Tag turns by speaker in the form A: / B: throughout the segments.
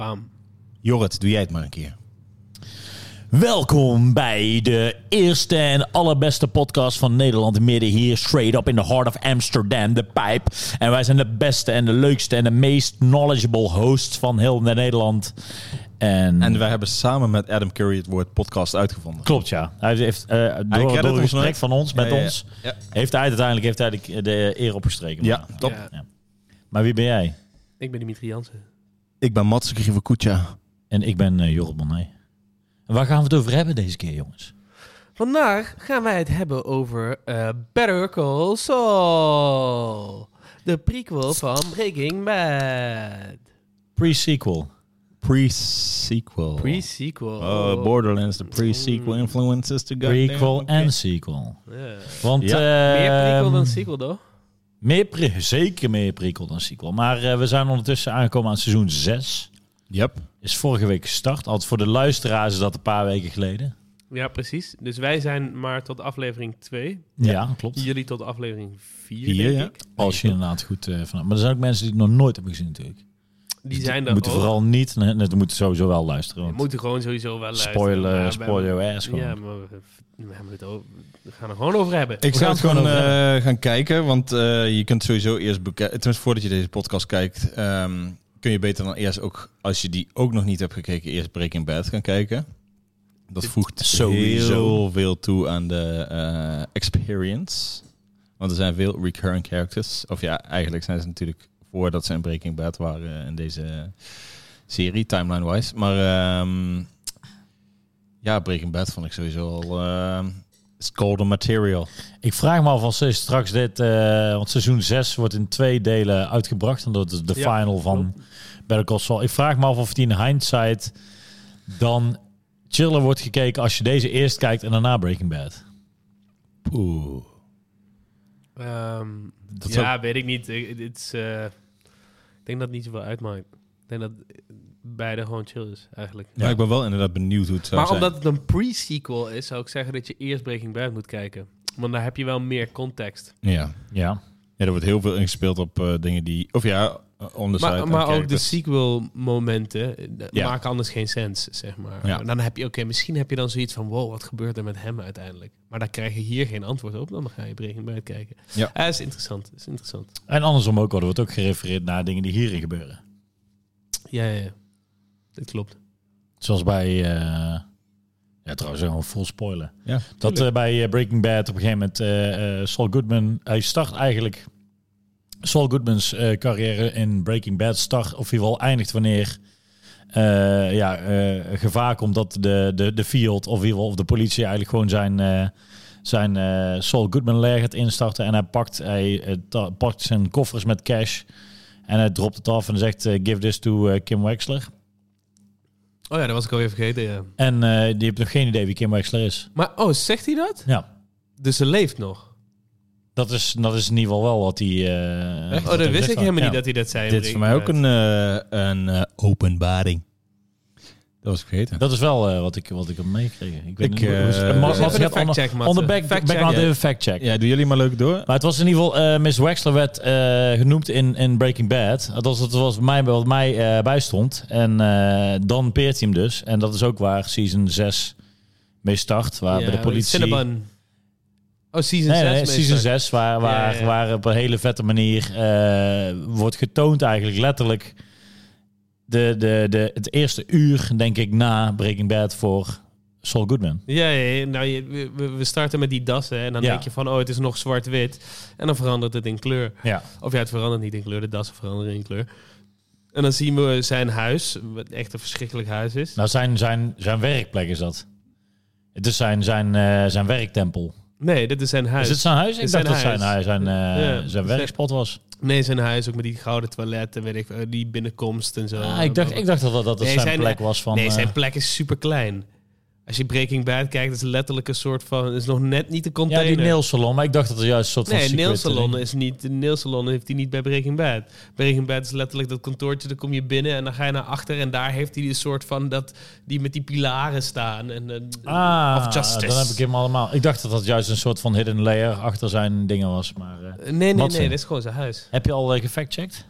A: aan.
B: Jorrit, doe jij het maar een keer.
C: Welkom bij de eerste en allerbeste podcast van Nederland en Midden. Hier straight up in the heart of Amsterdam, de pijp. En wij zijn de beste en de leukste en de meest knowledgeable hosts van heel Nederland. En,
B: En wij hebben samen met Adam Curry het woord podcast uitgevonden.
C: klopt ja, hij heeft eh, door,
B: credit
C: door een
B: ons
C: gesprek
B: nooit.
C: van ons met
B: Ja, ja, ja.
C: ons,
B: Ja.
C: heeft hij uiteindelijk, heeft hij de, de eer opgestreken.
B: Ja, top.
A: Ja.
C: Maar wie ben jij?
A: Ik ben Dimitri Jansen.
B: Ik ben Mats Grievenkoetja.
C: En ik ben eh Jorrit Monet. En waar gaan we het over hebben deze keer jongens?
A: Vandaag gaan wij het hebben over eh, Better Call Saul. De prequel van Breaking Bad.
C: Pre-sequel.
B: Pre-sequel.
A: Pre-sequel.
B: Oh, Borderlands, de pre-sequel
A: Mm.
B: influences to goddamn-
C: Prequel
B: Oké.
C: en sequel.
A: Ja.
C: Want,
B: Ja.
C: eh,
A: Meer prequel dan sequel, toch?
C: meer pre- zeker meer prequel dan sequel. Maar eh, we zijn ondertussen aangekomen aan seizoen 6.
B: Yep.
C: Is vorige week gestart. Altijd voor de luisteraars is dat een paar weken geleden.
A: Ja, precies. Dus wij zijn maar tot aflevering 2.
C: Ja, klopt.
A: Jullie tot aflevering 4,
B: Vier,
A: denk
B: ja.
A: ik.
C: Als je inderdaad goed eh vanaf. Maar er zijn ook mensen die het nog nooit hebben gezien natuurlijk.
A: Die zijn
C: dat
A: er ook.
C: moeten vooral niet. Nee, nee, Ze moeten sowieso wel luisteren.
A: We
C: want
A: moeten gewoon sowieso wel luisteren.
C: spoiler,
A: maar we hebben-
C: spoiler ass gewoon.
A: Ja, maar we, we hebben het over, we gaan er gewoon over hebben.
B: Ik
C: We
B: zou
C: gaan
B: het
C: het
B: gewoon
C: gewoon over
B: eh, gaan kijken, want eh, je kunt sowieso eerst bekijken. Tenminste, voordat je deze podcast kijkt, ehm, kun je beter dan eerst ook, als je die ook nog niet hebt gekeken, eerst Breaking Bad gaan kijken. Dat voegt
C: Sowieso.
B: heel veel toe aan de eh, experience. Want er zijn veel recurring characters. Of ja, eigenlijk zijn ze natuurlijk voordat ze in Breaking Bad waren eh, in deze serie, timeline-wise. Maar ehm, ja, Breaking Bad vond ik sowieso al... ehm it's golden material.
C: Ik vraag me af als ze straks dit... eh, want seizoen 6 wordt in twee delen uitgebracht. En dat is de
A: Ja,
C: final van Better Call Saul. Ik vraag me af of die in hindsight dan chiller wordt gekeken... als je deze eerst kijkt en daarna Breaking Bad.
B: Oeh.
A: Ehm,
C: Dat is
A: ja, weet ik niet. Ik, het is, eh, ik denk dat het niet zoveel uitmaakt. Ik denk dat beide gewoon chill is, eigenlijk.
B: Maar ik ben wel inderdaad benieuwd hoe het zou
A: Maar
B: zijn.
A: omdat het een pre-sequel is, zou ik zeggen dat je eerst Breaking Bad moet kijken. Want daar heb je wel meer context.
B: Ja.
C: Ja.
B: ja, er wordt heel veel ingespeeld op eh, dingen die... Of ja, eh, on the side.
A: Maar, maar
B: aan
A: ook de
B: characters.
A: sequel-momenten eh,
B: dus- Ja.
A: maken anders geen sens, zeg maar.
B: Ja.
A: En Dan heb je, oké, misschien heb je dan zoiets van... wow, wat gebeurt er met hem uiteindelijk? Maar daar krijg je hier geen antwoord op. Dan ga je Breaking Bad kijken.
B: Ja.
A: Eh, is interessant, is interessant.
C: En andersom ook al. Er wordt ook gerefereerd naar dingen die hierin gebeuren.
A: Ja, ja, ja. Dit klopt.
C: Zoals bij... eh, ja, trouwens, gewoon full spoiler.
B: Ja.
C: Dat eh, bij eh, Breaking Bad op een gegeven moment eh, eh, Saul Goodman, hij start eigenlijk Saul Goodmans eh, carrière in Breaking Bad start, of in ieder geval eindigt wanneer eh, ja, eh, gevaar komt dat de, de, de field of in ieder geval of de politie eigenlijk gewoon zijn, eh, zijn eh, Saul Goodman leger gaat instarten en hij pakt, hij, eh, ta- pakt zijn koffers met cash en hij dropt het af en zegt eh, give this to eh, Kim Wexler.
A: Oh ja, dat was ik alweer vergeten, ja.
C: En eh, die heeft nog geen idee wie Kim Wexler is.
A: Maar, oh, zegt hij dat?
C: Ja.
A: Dus ze leeft nog.
C: Dat is, dat is in ieder geval wel wat hij... eh,
A: Oh, dat
C: hij
A: wist
C: zegt
A: ik
C: dan.
A: helemaal
C: Ja.
A: niet dat hij dat zei.
B: Dit is voor mij ook een, eh, een eh, openbaring. Dat was ik vergeten.
C: Dat is wel eh, wat ik wat ik heb meegekregen. Ik weet
B: Ik,
C: niet hoe- hoe is het-
B: eh,
C: Ma-
B: Dus
C: Mats
A: even een
C: gaat on-
A: factcheck, Mats.
C: on the back-
A: Factcheck,
C: background
A: ja.
C: even factcheck.
B: Ja, doen jullie maar leuk door.
C: Maar het was in ieder geval, eh, Miss Wexler werd eh, genoemd in, in Breaking Bad. Dat was, dat was mij, wat mij eh, bijstond. En eh, dan peert hij hem dus. En dat is ook waar season 6 mee start. Waar bij de politie...
A: Cinnabon. Oh, season
C: Nee,
A: 6.
C: nee, season 6, waar, waar,
A: Ja, ja.
C: waar op een hele vette manier eh, wordt getoond eigenlijk letterlijk de, de, de, het eerste uur, denk ik, na Breaking Bad voor Saul Goodman.
A: Ja, ja, ja. nou, je- we- we, we starten met die dassen en dan
C: Ja.
A: denk je van, oh, het is nog zwart-wit. En dan verandert het in kleur.
C: Ja.
A: Of ja, het verandert niet in kleur, de dassen veranderen in kleur. En dan zien we zijn huis, wat echt een verschrikkelijk huis is.
C: Nou, zijn, zijn, zijn werkplek is dat. Het is zijn, zijn, eh, zijn werktempel.
A: Nee, dit is zijn huis.
C: Nou. Is het zijn huis? Ik
A: Het is
C: dacht dat
A: zijn
C: zijn, huis. zijn, eh,
A: Ja.
C: zijn werkspot was.
A: Nee, zijn huis, ook met die gouden toiletten, weet ik, eh, die binnenkomst en zo.
C: Ah, ik, dacht, ik dacht dat dat, dat
A: Nee,
C: zijn,
A: zijn-
C: plek was van...
A: nee, zijn
C: eh,
A: plek is super klein. Als je Breaking Bad kijkt, is het letterlijk een soort van... is nog net niet de
C: ja,
A: container.
C: die nailsalon. Maar ik dacht dat er juist een soort
A: Nee,
C: van... secret-
A: nailsalon is niet. De nailsalon heeft hij niet bij Breaking Bad. Breaking Bad is letterlijk dat kantoortje. Dan kom je binnen en dan ga je naar achter. En daar heeft hij een soort van dat die met die pilaren staan. En, eh,
C: Ah,
A: Of justice.
C: dan heb ik hem allemaal. Ik dacht dat dat juist een soort van hidden layer achter zijn dingen was. Maar eh,
A: nee, nee,
C: Wat
A: nee,
C: zijn?
A: dat is gewoon zijn huis.
C: heb je al eh, gefactcheckt?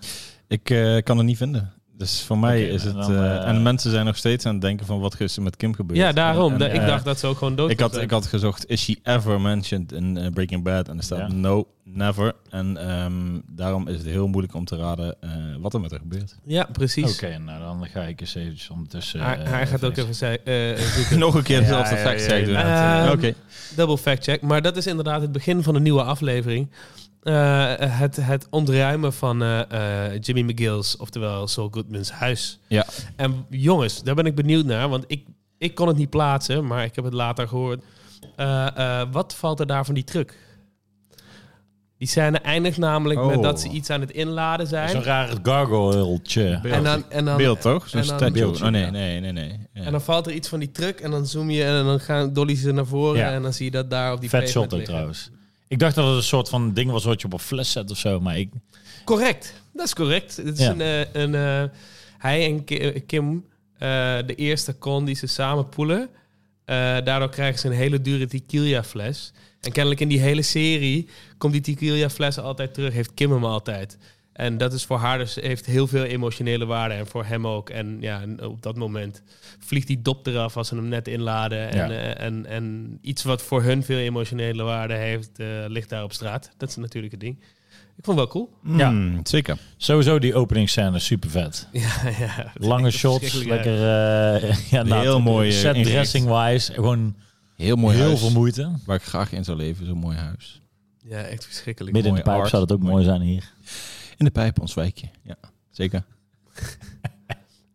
B: Ik eh, kan het niet vinden. Dus voor mij
C: Oké,
B: is het...
C: en dan,
B: eh,
C: eh,
B: en mensen zijn nog steeds aan het denken van wat is er met Kim gebeurd.
A: Ja, daarom.
B: En,
A: Da-
B: en,
A: ik
B: eh,
A: dacht dat ze ook gewoon dood
B: ik
A: zou
B: had,
A: zijn.
B: ik had gezocht, is she ever mentioned in eh, Breaking Bad? En er staat
C: Ja.
B: no, never. En ehm, daarom is het heel moeilijk om te raden eh, wat er met haar gebeurt.
A: Ja, precies.
C: Oké, nou dan ga ik eens eventjes ondertussen...
A: Hij,
C: eh,
A: hij gaat ook even zei- eh, zoeken.
B: Nog een keer
C: Ja,
B: dezelfde
C: ja,
B: fact
C: ja,
B: check doen.
A: inderdaad.
B: Oké.
A: Ehm, Double fact check. Maar dat is inderdaad het begin van een nieuwe aflevering. Eh, het, het ontruimen van eh, eh, Jimmy McGill's, oftewel Saul Goodman's huis.
B: Ja.
A: En jongens, daar ben ik benieuwd naar, want ik, ik kon het niet plaatsen, maar ik heb het later gehoord. Eh, eh, wat valt er daar van die truck? Die scène eindigt namelijk
B: Oh.
A: met dat ze iets aan het inladen zijn.
C: Zo'n raar gargoyle
A: En dan, en dan,
B: Beeld toch? Zo'n
A: en dan-
B: statue.
C: Beeldje,
B: Oh nee,
C: ja.
B: nee, nee, nee. Ja.
A: En dan valt er iets van die truck en dan zoom je en dan gaan dolly ze naar voren
C: Ja.
A: en dan zie je dat daar op die
C: Vet
A: pavement
C: shot ook
A: liggen.
C: trouwens. Ik dacht dat het een soort van ding was wat je op een fles zet of zo, maar ik...
A: Correct, dat is correct. Het is
C: Ja.
A: een, eh, een, eh, hij en Ki- eh, Kim, eh, de eerste con die ze samen poelen. Eh, daardoor krijgen ze een hele dure tequila-fles. En kennelijk in die hele serie komt die tequila-fles altijd terug, heeft Kim hem altijd. En dat is voor haar dus heeft heel veel emotionele waarde en voor hem ook. En ja, en op dat moment vliegt die dop eraf als ze hem net inladen. En,
C: Ja.
A: eh, en, en iets wat voor hun veel emotionele waarde heeft, eh, ligt daar op straat. Dat is natuurlijk het ding. Ik vond het wel cool.
C: Ja.
B: Mm, zeker.
C: Sowieso die openingsscène, super vet.
A: Ja, ja.
C: Lange
A: Het is
C: shots,
A: verschrikkelijk
C: lekker... eh, ja, nou,
B: Heel mooi, eh,
C: Set
B: ingericht.
C: dressing-wise, gewoon
B: Heel mooi
C: heel
B: huis.
C: veel moeite.
B: Waar ik graag in zou leven, zo'n mooi huis.
A: erg. Ja, echt verschrikkelijk.
C: Midden in de
B: Mooi
C: pijp
B: art,
C: zou dat ook
B: mooi.
C: mooi zijn hier.
B: In de pijp, ons wijkje. Ja, zeker.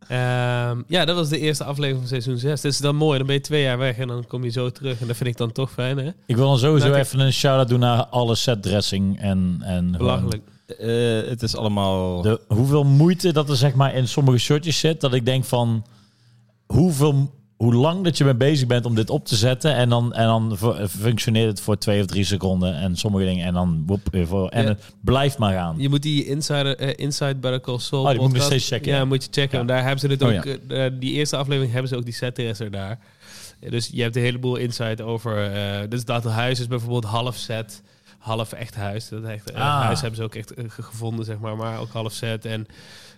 A: Ehm, ja, dat was de eerste aflevering van seizoen 6. Dat is dan mooi. Dan ben je twee jaar weg en dan kom je zo terug. En dat vind ik dan toch fijn, hè?
C: Ik wil dan sowieso
A: Nou, kijk-
C: even een shout-out doen naar alle setdressing en... en gewoon
A: Belachelijk.
B: Eh, het is allemaal...
C: De, hoeveel moeite dat er zeg maar in sommige shotjes zit, dat ik denk van... Hoeveel, hoe lang dat je mee bezig bent om dit op te zetten en dan, en dan vo- functioneert het voor twee of drie seconden en sommige dingen en dan woep, weer voor, en
A: Ja.
C: het blijft maar gaan.
A: Je moet die Insider, eh, Inside Better Call Saul
C: Oh, die moet ik nog
A: podcast-
C: steeds checken,
A: Ja,
C: ja.
A: moet je checken.
C: Ja.
A: Daar hebben ze het
B: Oh,
A: ook... eh, eh, die eerste aflevering hebben ze ook die setdresser daar. Eh, Dus je hebt een heleboel insight over... eh, dus dat huis is bijvoorbeeld half set... Half echt huis. Dat echt, eh,
C: Ah.
A: huis hebben ze ook echt eh, ge- gevonden, zeg maar. Maar ook half set. En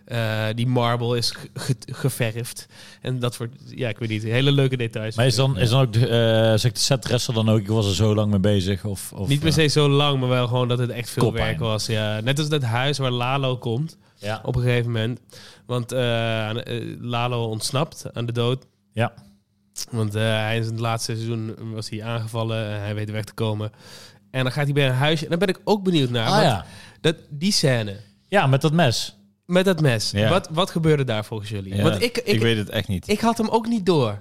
A: eh, die marble is ge- ge- geverfd. En dat soort... Ja, ik weet niet. Hele leuke details.
C: Maar is dan, is dan ook, de, eh zegt de setdresser dan ook, ik was er zo lang mee bezig? Of, of, eh,
A: niet per se zo lang, maar wel gewoon dat het echt veel
C: Koppijn.
A: werk was. Ja. Net als dat huis waar Lalo komt.
C: eh, ja.
A: op een gegeven moment. Want eh, eh, Lalo ontsnapt aan de dood.
C: Ja.
A: Want eh, hij is in het laatste seizoen was hij aangevallen. en hij weet weg te komen. En dan gaat hij bij een huisje. En daar ben ik ook benieuwd naar.
C: Ah,
A: want
C: ja.
A: dat, die scène
C: ja, met dat mes.
A: met dat mes.
B: Ja.
A: Wat, wat gebeurde daar volgens jullie?
B: Ja,
A: Want ik, ik, ik,
B: weet het echt niet.
A: had hem ook niet door.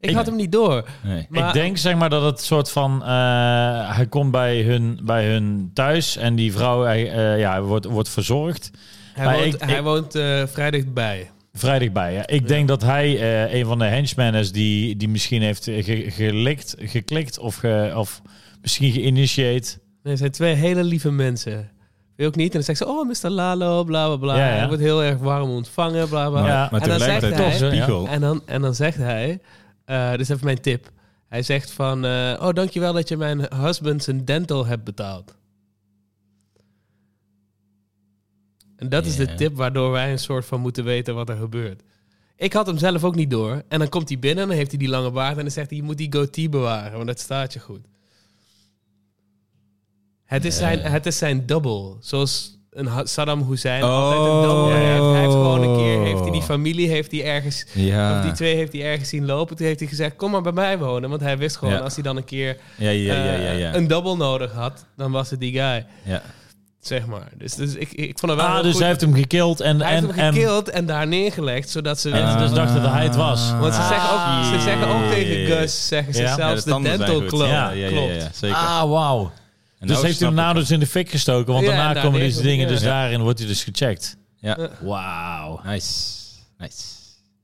A: Ik
C: Ik-
A: had hem niet door.
B: nee.
A: Maar-
C: ik denk zeg maar dat het soort van... eh, hij komt bij hun, bij hun thuis en die vrouw hij, eh, ja, wordt, wordt verzorgd.
A: Hij
C: Maar
A: woont,
C: ik-
A: hij
C: ik-
A: woont eh, vrij dichtbij.
C: Vrij dichtbij, ja. Ik denk dat hij eh, een van de henchmen is die, die misschien heeft eh, ge- gelikt, geklikt of, ge- of misschien geïnitieerd.
A: Nee, het zijn twee hele lieve mensen. Wil ook niet? En dan zegt ze, oh, Mr. Lalo, bla, bla, bla.
C: Ja, ja.
A: Hij wordt heel erg warm ontvangen, bla, bla.
B: Maar,
C: Ja.
B: maar
A: En dan
B: tegelijkertijd
A: zegt hij-
B: toch, spiegel.
A: En dan, en dan zegt hij, eh dus even mijn tip. Hij zegt van, eh oh dankjewel dat je mijn husband zijn dental hebt betaald. En dat is
B: Ja.
A: de tip waardoor wij een soort van moeten weten wat er gebeurt. Ik had hem zelf ook niet door. En dan komt hij binnen en dan heeft hij die lange baard. En dan zegt hij, je moet die goatee bewaren, want dat staat je goed. Het is, zijn,
B: Ja.
A: het is zijn double. Zoals een Ha- Saddam Hussein altijd een double heeft. Hij heeft gewoon een keer, heeft
B: Oh.
A: hij die familie heeft hij ergens... Of
B: Ja.
A: die twee heeft hij ergens zien lopen. Toen heeft hij gezegd, kom maar bij mij wonen. Want hij wist gewoon,
B: Ja.
A: als hij dan een keer
B: ja, ja, ja, ja,
A: eh,
B: ja.
A: een double nodig had, dan was het die guy.
B: ja.
A: Zeg maar. Dus, dus ik, ik vond het wel
C: Ah,
A: heel
C: dus
A: goed.
C: hij heeft hem gekild en...
A: Hij heeft
C: en,
A: hem
C: en-
A: gekild en daar neergelegd, zodat ze...
C: En ze dus
B: Ah.
C: dachten dat hij het was.
A: want ze
C: Ah.
A: zeggen ook, ze zeggen ook tegen
B: Ja.
A: Gus, zeggen ze
C: Ja.
B: Ja,
A: zelfs de
B: tanden zijn
A: dental
B: goed.
A: club.
B: Ja, ja, ja, ja,
A: Klopt.
B: zeker.
C: Ah, wauw.
B: En
C: Dus
B: nou
C: heeft hij hem
B: snap
C: nou dus in de fik gestoken, want
A: Ja, nou, en
C: daarna
A: daar
C: komen deze
A: neergezet,
C: dingen,
A: ja.
C: dus
A: Ja.
C: daarin wordt hij dus gecheckt.
B: Ja.
A: Ja.
C: Wauw.
B: ik. Nice. Nice.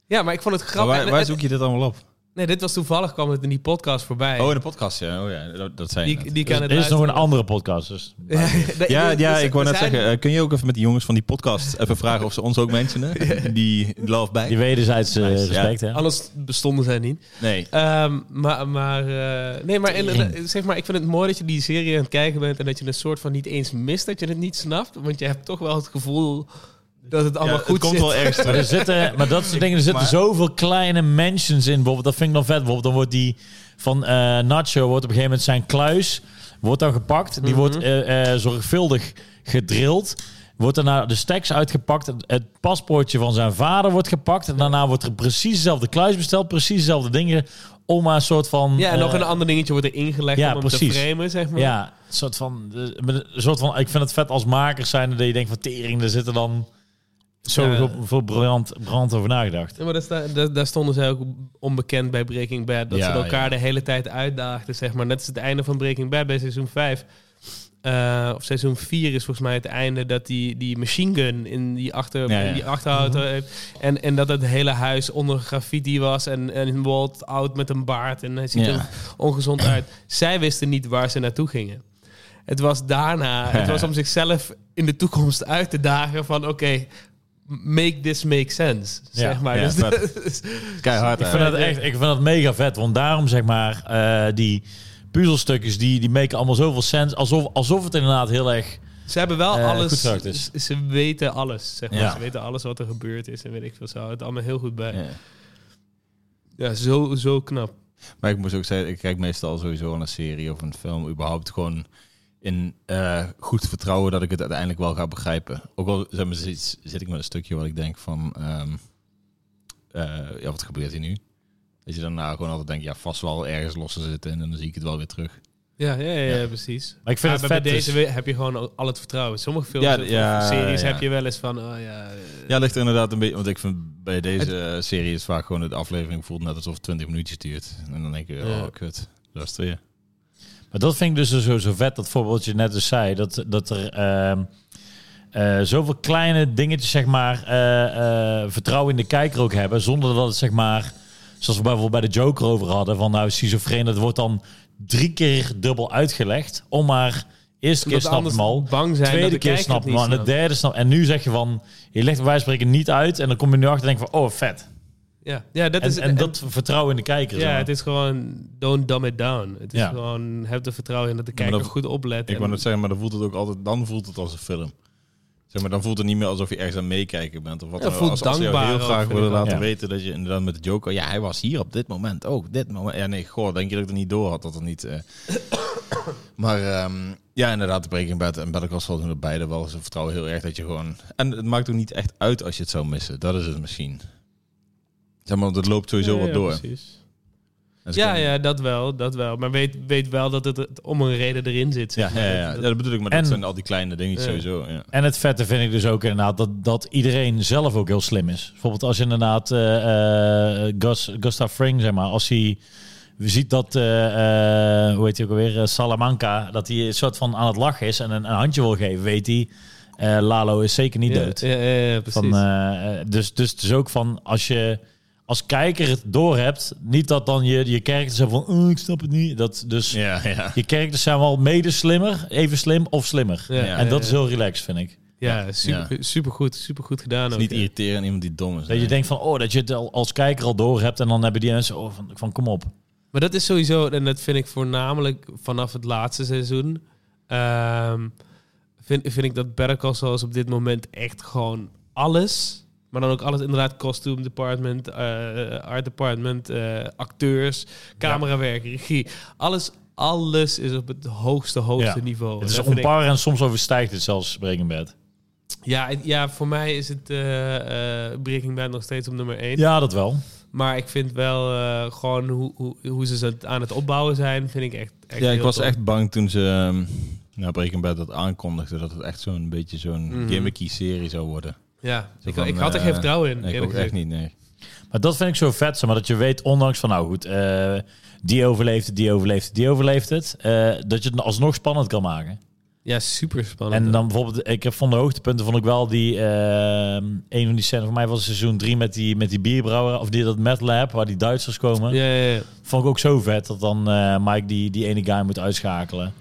A: Ja, maar ik vond het
B: Maar
A: grappig.
B: waar,
A: En-
B: waar
A: en-
B: zoek je dit allemaal op?
A: Nee, dit was toevallig, kwam het in die podcast voorbij.
B: Oh, in de podcast, ja. Oh ja, dat, dat zei je
A: die,
B: net.
A: die kan het
C: Dit Dus is nog een
A: luisteren.
C: andere podcast, dus...
B: Ja, ja,
A: dus
B: ik wou
A: er
B: net
A: zijn-
B: zeggen, eh, kun je ook even met die jongens van die podcast even vragen of ze ons ook mentionen? Die love
C: Die
B: bij?
C: wederzijds eh,
B: Nice, ja.
C: respect, hè?
A: Anders bestonden zij niet.
B: Nee.
A: Ehm, maar, maar, eh, nee, maar, inderdaad, zeg maar ik vind het mooi dat je die serie aan het kijken bent en dat je een soort van niet eens mist dat je het niet snapt. Want je hebt toch wel het gevoel dat het allemaal
B: het
A: goed
B: komt
A: zit.
B: wel ergens
C: Maar, er
B: terug.
C: zitten, maar dat soort dingen, er zitten
B: Maar-
C: zoveel kleine mentions in. Bijvoorbeeld, dat vind ik dan vet. Bijvoorbeeld, dan wordt die van eh, Nacho, wordt op een gegeven moment zijn kluis, wordt dan gepakt. Die wordt
A: Mhm.
C: eh, eh, zorgvuldig gedrild. Wordt daarna de stacks uitgepakt. Het- Het paspoortje van zijn vader wordt gepakt. En daarna wordt er precies dezelfde kluis besteld. Precies dezelfde dingen. Om maar een soort van...
A: Ja, en nog
C: eh,
A: een ander dingetje wordt er ingelegd
C: ja,
A: om hem
C: precies.
A: te framen, zeg maar.
C: Ja, een soort van, eh, maar een soort van... Ik vind het vet als makers zijn dat je denkt van tering, daar zitten dan... Zo
A: Ja.
C: veel briljant, briljant over nagedacht.
A: Ja, maar daar, sta- daar, daar stonden zij ook onbekend bij Breaking Bad. Dat
B: Ja,
A: ze elkaar
B: ja.
A: de hele tijd uitdaagden, zeg maar. Net is het einde van Breaking Bad bij seizoen 5. Eh, of seizoen 4 is volgens mij het einde dat die, die machine gun in die, achter,
B: Ja, Mhm. ja.
A: in die achterauto heeft. En, en dat het hele huis onder graffiti was. En, en Walt oud met een baard en hij ziet
B: Ja.
A: er ongezond uit. Zij wisten niet waar ze naartoe gingen. Het was daarna, het was om zichzelf in de toekomst uit te dagen van oké, make this make sense,
C: Ja.
A: zeg maar.
B: Ja,
A: Dus
B: vet.
A: dat is-
B: Keihard.
C: Ik vind, dat echt, Eh, ik vind dat mega vet, want daarom zeg maar, eh, die puzzelstukjes, die, die maken allemaal zoveel sens. Alsof, alsof het inderdaad heel erg...
A: Ze hebben wel
C: Eh, goed
A: alles.
C: zo, dus.
A: ze- Ze weten alles. Zeg maar.
C: Ja.
A: Ze weten alles wat er gebeurd is en weet ik veel. Ze houden het allemaal heel goed bij. Ja,
B: Ja.
A: zo, zo knap.
B: Maar ik moest ook zeggen, ik kijk meestal sowieso aan een serie of een film. Überhaupt gewoon in eh, goed vertrouwen dat ik het uiteindelijk wel ga begrijpen. Ook al zeg maar, zit, zit ik met een stukje wat ik denk van... ehm, eh, ja, wat gebeurt hier nu? Dat je daarna gewoon altijd denkt, ja, vast wel ergens los te zitten. En dan zie ik het wel weer terug.
A: Ja, ja, ja, ja,
B: Ja.
A: precies.
C: Maar ik vind
A: Maar
C: het
A: bij
C: vet
A: deze
C: dus.
A: we- heb je gewoon al het vertrouwen. Sommige films
B: Ja,
A: of
B: ja,
A: series
B: ja.
A: heb je wel eens van... Oh, ja, eh,
B: Ja, ligt er inderdaad een beetje... Want ik vind bij deze eh, serie is vaak gewoon de aflevering voelt net alsof het 20 minuutjes duurt. En dan denk je, oh,
A: Ja.
B: kut. Dat is het weer.
C: Maar dat vind ik dus zo, zo vet, dat voorbeeld je net dus zei, dat, dat er ehm, eh, zoveel kleine dingetjes zeg maar eh, eh, vertrouwen in de kijker ook hebben, zonder dat het zeg maar, zoals we bijvoorbeeld bij de Joker over hadden, van nou schizofreen, dat wordt dan drie keer dubbel uitgelegd, om maar eerste keer
A: omdat
C: snapt
A: anders
C: hem al.
A: bang zijn dat
C: tweede
A: de
C: keer
A: kijker
C: snap
A: het niet
C: man. De
A: snapt.
C: derde snap. En nu zeg je van, je legt bij wijze van spreken niet uit. En dan kom je nu achter en denk van, oh vet.
A: Ja, ja, dat
C: en,
A: is... eh,
C: en dat vertrouwen in de kijker. zeg
A: ja,
C: maar.
A: het is gewoon... Don't dumb it down. Het is
C: Ja.
A: gewoon... Heb er vertrouwen in dat de
B: maar
A: kijker
B: dat-
A: goed oplet.
B: Ik
A: en-
B: wou net zeggen, maar dan voelt het ook altijd, dan voelt het als een film. Zeg maar, dan voelt het niet meer alsof je ergens aan meekijken bent. Of wat
A: Ja,
B: dan ook.
A: voelt
B: als, als ze jou
A: dankbaar
B: heel
A: ook,
B: graag
A: vind
B: willen
A: ik wel.
B: laten
C: Ja.
B: weten dat je inderdaad met de Joker... Ja, hij was hier op dit moment ook, dit moment. Ja, nee, goh, denk je dat ik het niet door had dat het niet... eh. maar ehm, ja, inderdaad, de Breaking Bad en Better Call Saul doen er beide wel. Ze vertrouwen heel erg dat je gewoon... En het maakt ook niet echt uit als je het zou missen. Dat is het misschien. Zeg maar, want het loopt sowieso
A: Ja,
B: wel
A: ja,
B: door.
A: precies.
B: En ze
A: Ja,
B: kunnen-
A: ja, dat wel, dat wel. Maar weet, weet wel dat het- het om een reden erin zit.
B: Ja,
A: zeg
B: ja,
A: maar.
B: ja, ja,
A: Dat-
B: dat bedoel ik, maar dat
C: En-
B: zijn al die kleine dingetjes
A: Ja.
B: sowieso. Ja.
C: En het vette vind ik dus ook inderdaad dat, dat iedereen zelf ook heel slim is. Bijvoorbeeld als je inderdaad eh, eh, Gus, Gustav Fring, zeg maar, als hij ziet dat, eh, eh, hoe heet hij ook alweer, eh, Salamanca, dat hij een soort van aan het lachen is en een, een handje wil geven, weet hij, eh, Lalo is zeker niet dood.
A: Ja, ja, ja, ja, precies.
C: Van, eh, eh, dus, dus het is ook van als je als kijker het doorhebt, niet dat dan je, je characters zijn van oh, ik snap het niet. Dat, dus
B: Ja, ja.
C: je characters zijn wel mede slimmer, even slim of slimmer.
A: Ja,
B: Ja,
C: en dat
A: ja,
C: is heel relaxed, vind ik.
A: Ja, super, super goed. Super goed gedaan.
B: Het
A: Ook,
B: is niet
A: ja.
B: irriteren aan iemand die dom is.
C: Dat je denkt van, oh, dat je het al- als kijker al door hebt en dan hebben die mensen oh, van, van kom op.
A: Maar dat is sowieso, en dat vind ik voornamelijk vanaf het laatste seizoen. ehm, vind, vind ik dat Better Call Saul is op dit moment echt gewoon alles. Maar dan ook alles inderdaad, costume department, eh, art department, eh, acteurs, camerawerk, regie. Alles, alles is op het hoogste, hoogste
C: Ja.
A: niveau.
C: het is
A: Dat vind ik-
C: onpar en soms overstijgt het zelfs Breaking Bad.
A: Ja, en- ja, voor mij is het eh eh, Breaking Bad nog steeds op nummer 1.
C: Ja, dat wel.
A: Maar ik vind wel eh, gewoon hoe, hoe, hoe ze het aan het opbouwen zijn, vind ik echt. echt
B: ja, ik
A: heel
B: was
A: tof.
B: echt bang toen ze ehm, nou, Breaking Bad dat aankondigde dat het echt zo'n beetje zo'n
A: Mhm.
B: gimmicky serie zou worden.
A: Ja, ik,
B: van,
A: ik had er
B: eh,
A: geen vertrouwen in.
B: Nee, ik
A: eerlijk
B: ook echt
A: gezegd.
B: niet, nee.
C: Maar dat vind ik zo vet, zeg maar dat je weet, ondanks van, nou goed, eh, die overleeft het, die overleeft het, die overleeft het, eh, dat je het alsnog spannend kan maken.
A: Ja, super spannend.
C: En dan bijvoorbeeld, ik heb van de hoogtepunten vond ik wel die eh, een van die scènes voor mij was seizoen 3 met die, met die bierbrouwer of die dat Mad Lab waar die Duitsers komen.
A: Ja, ja, ja.
C: Vond ik ook zo vet dat dan eh, Mike die, die ene guy moet uitschakelen.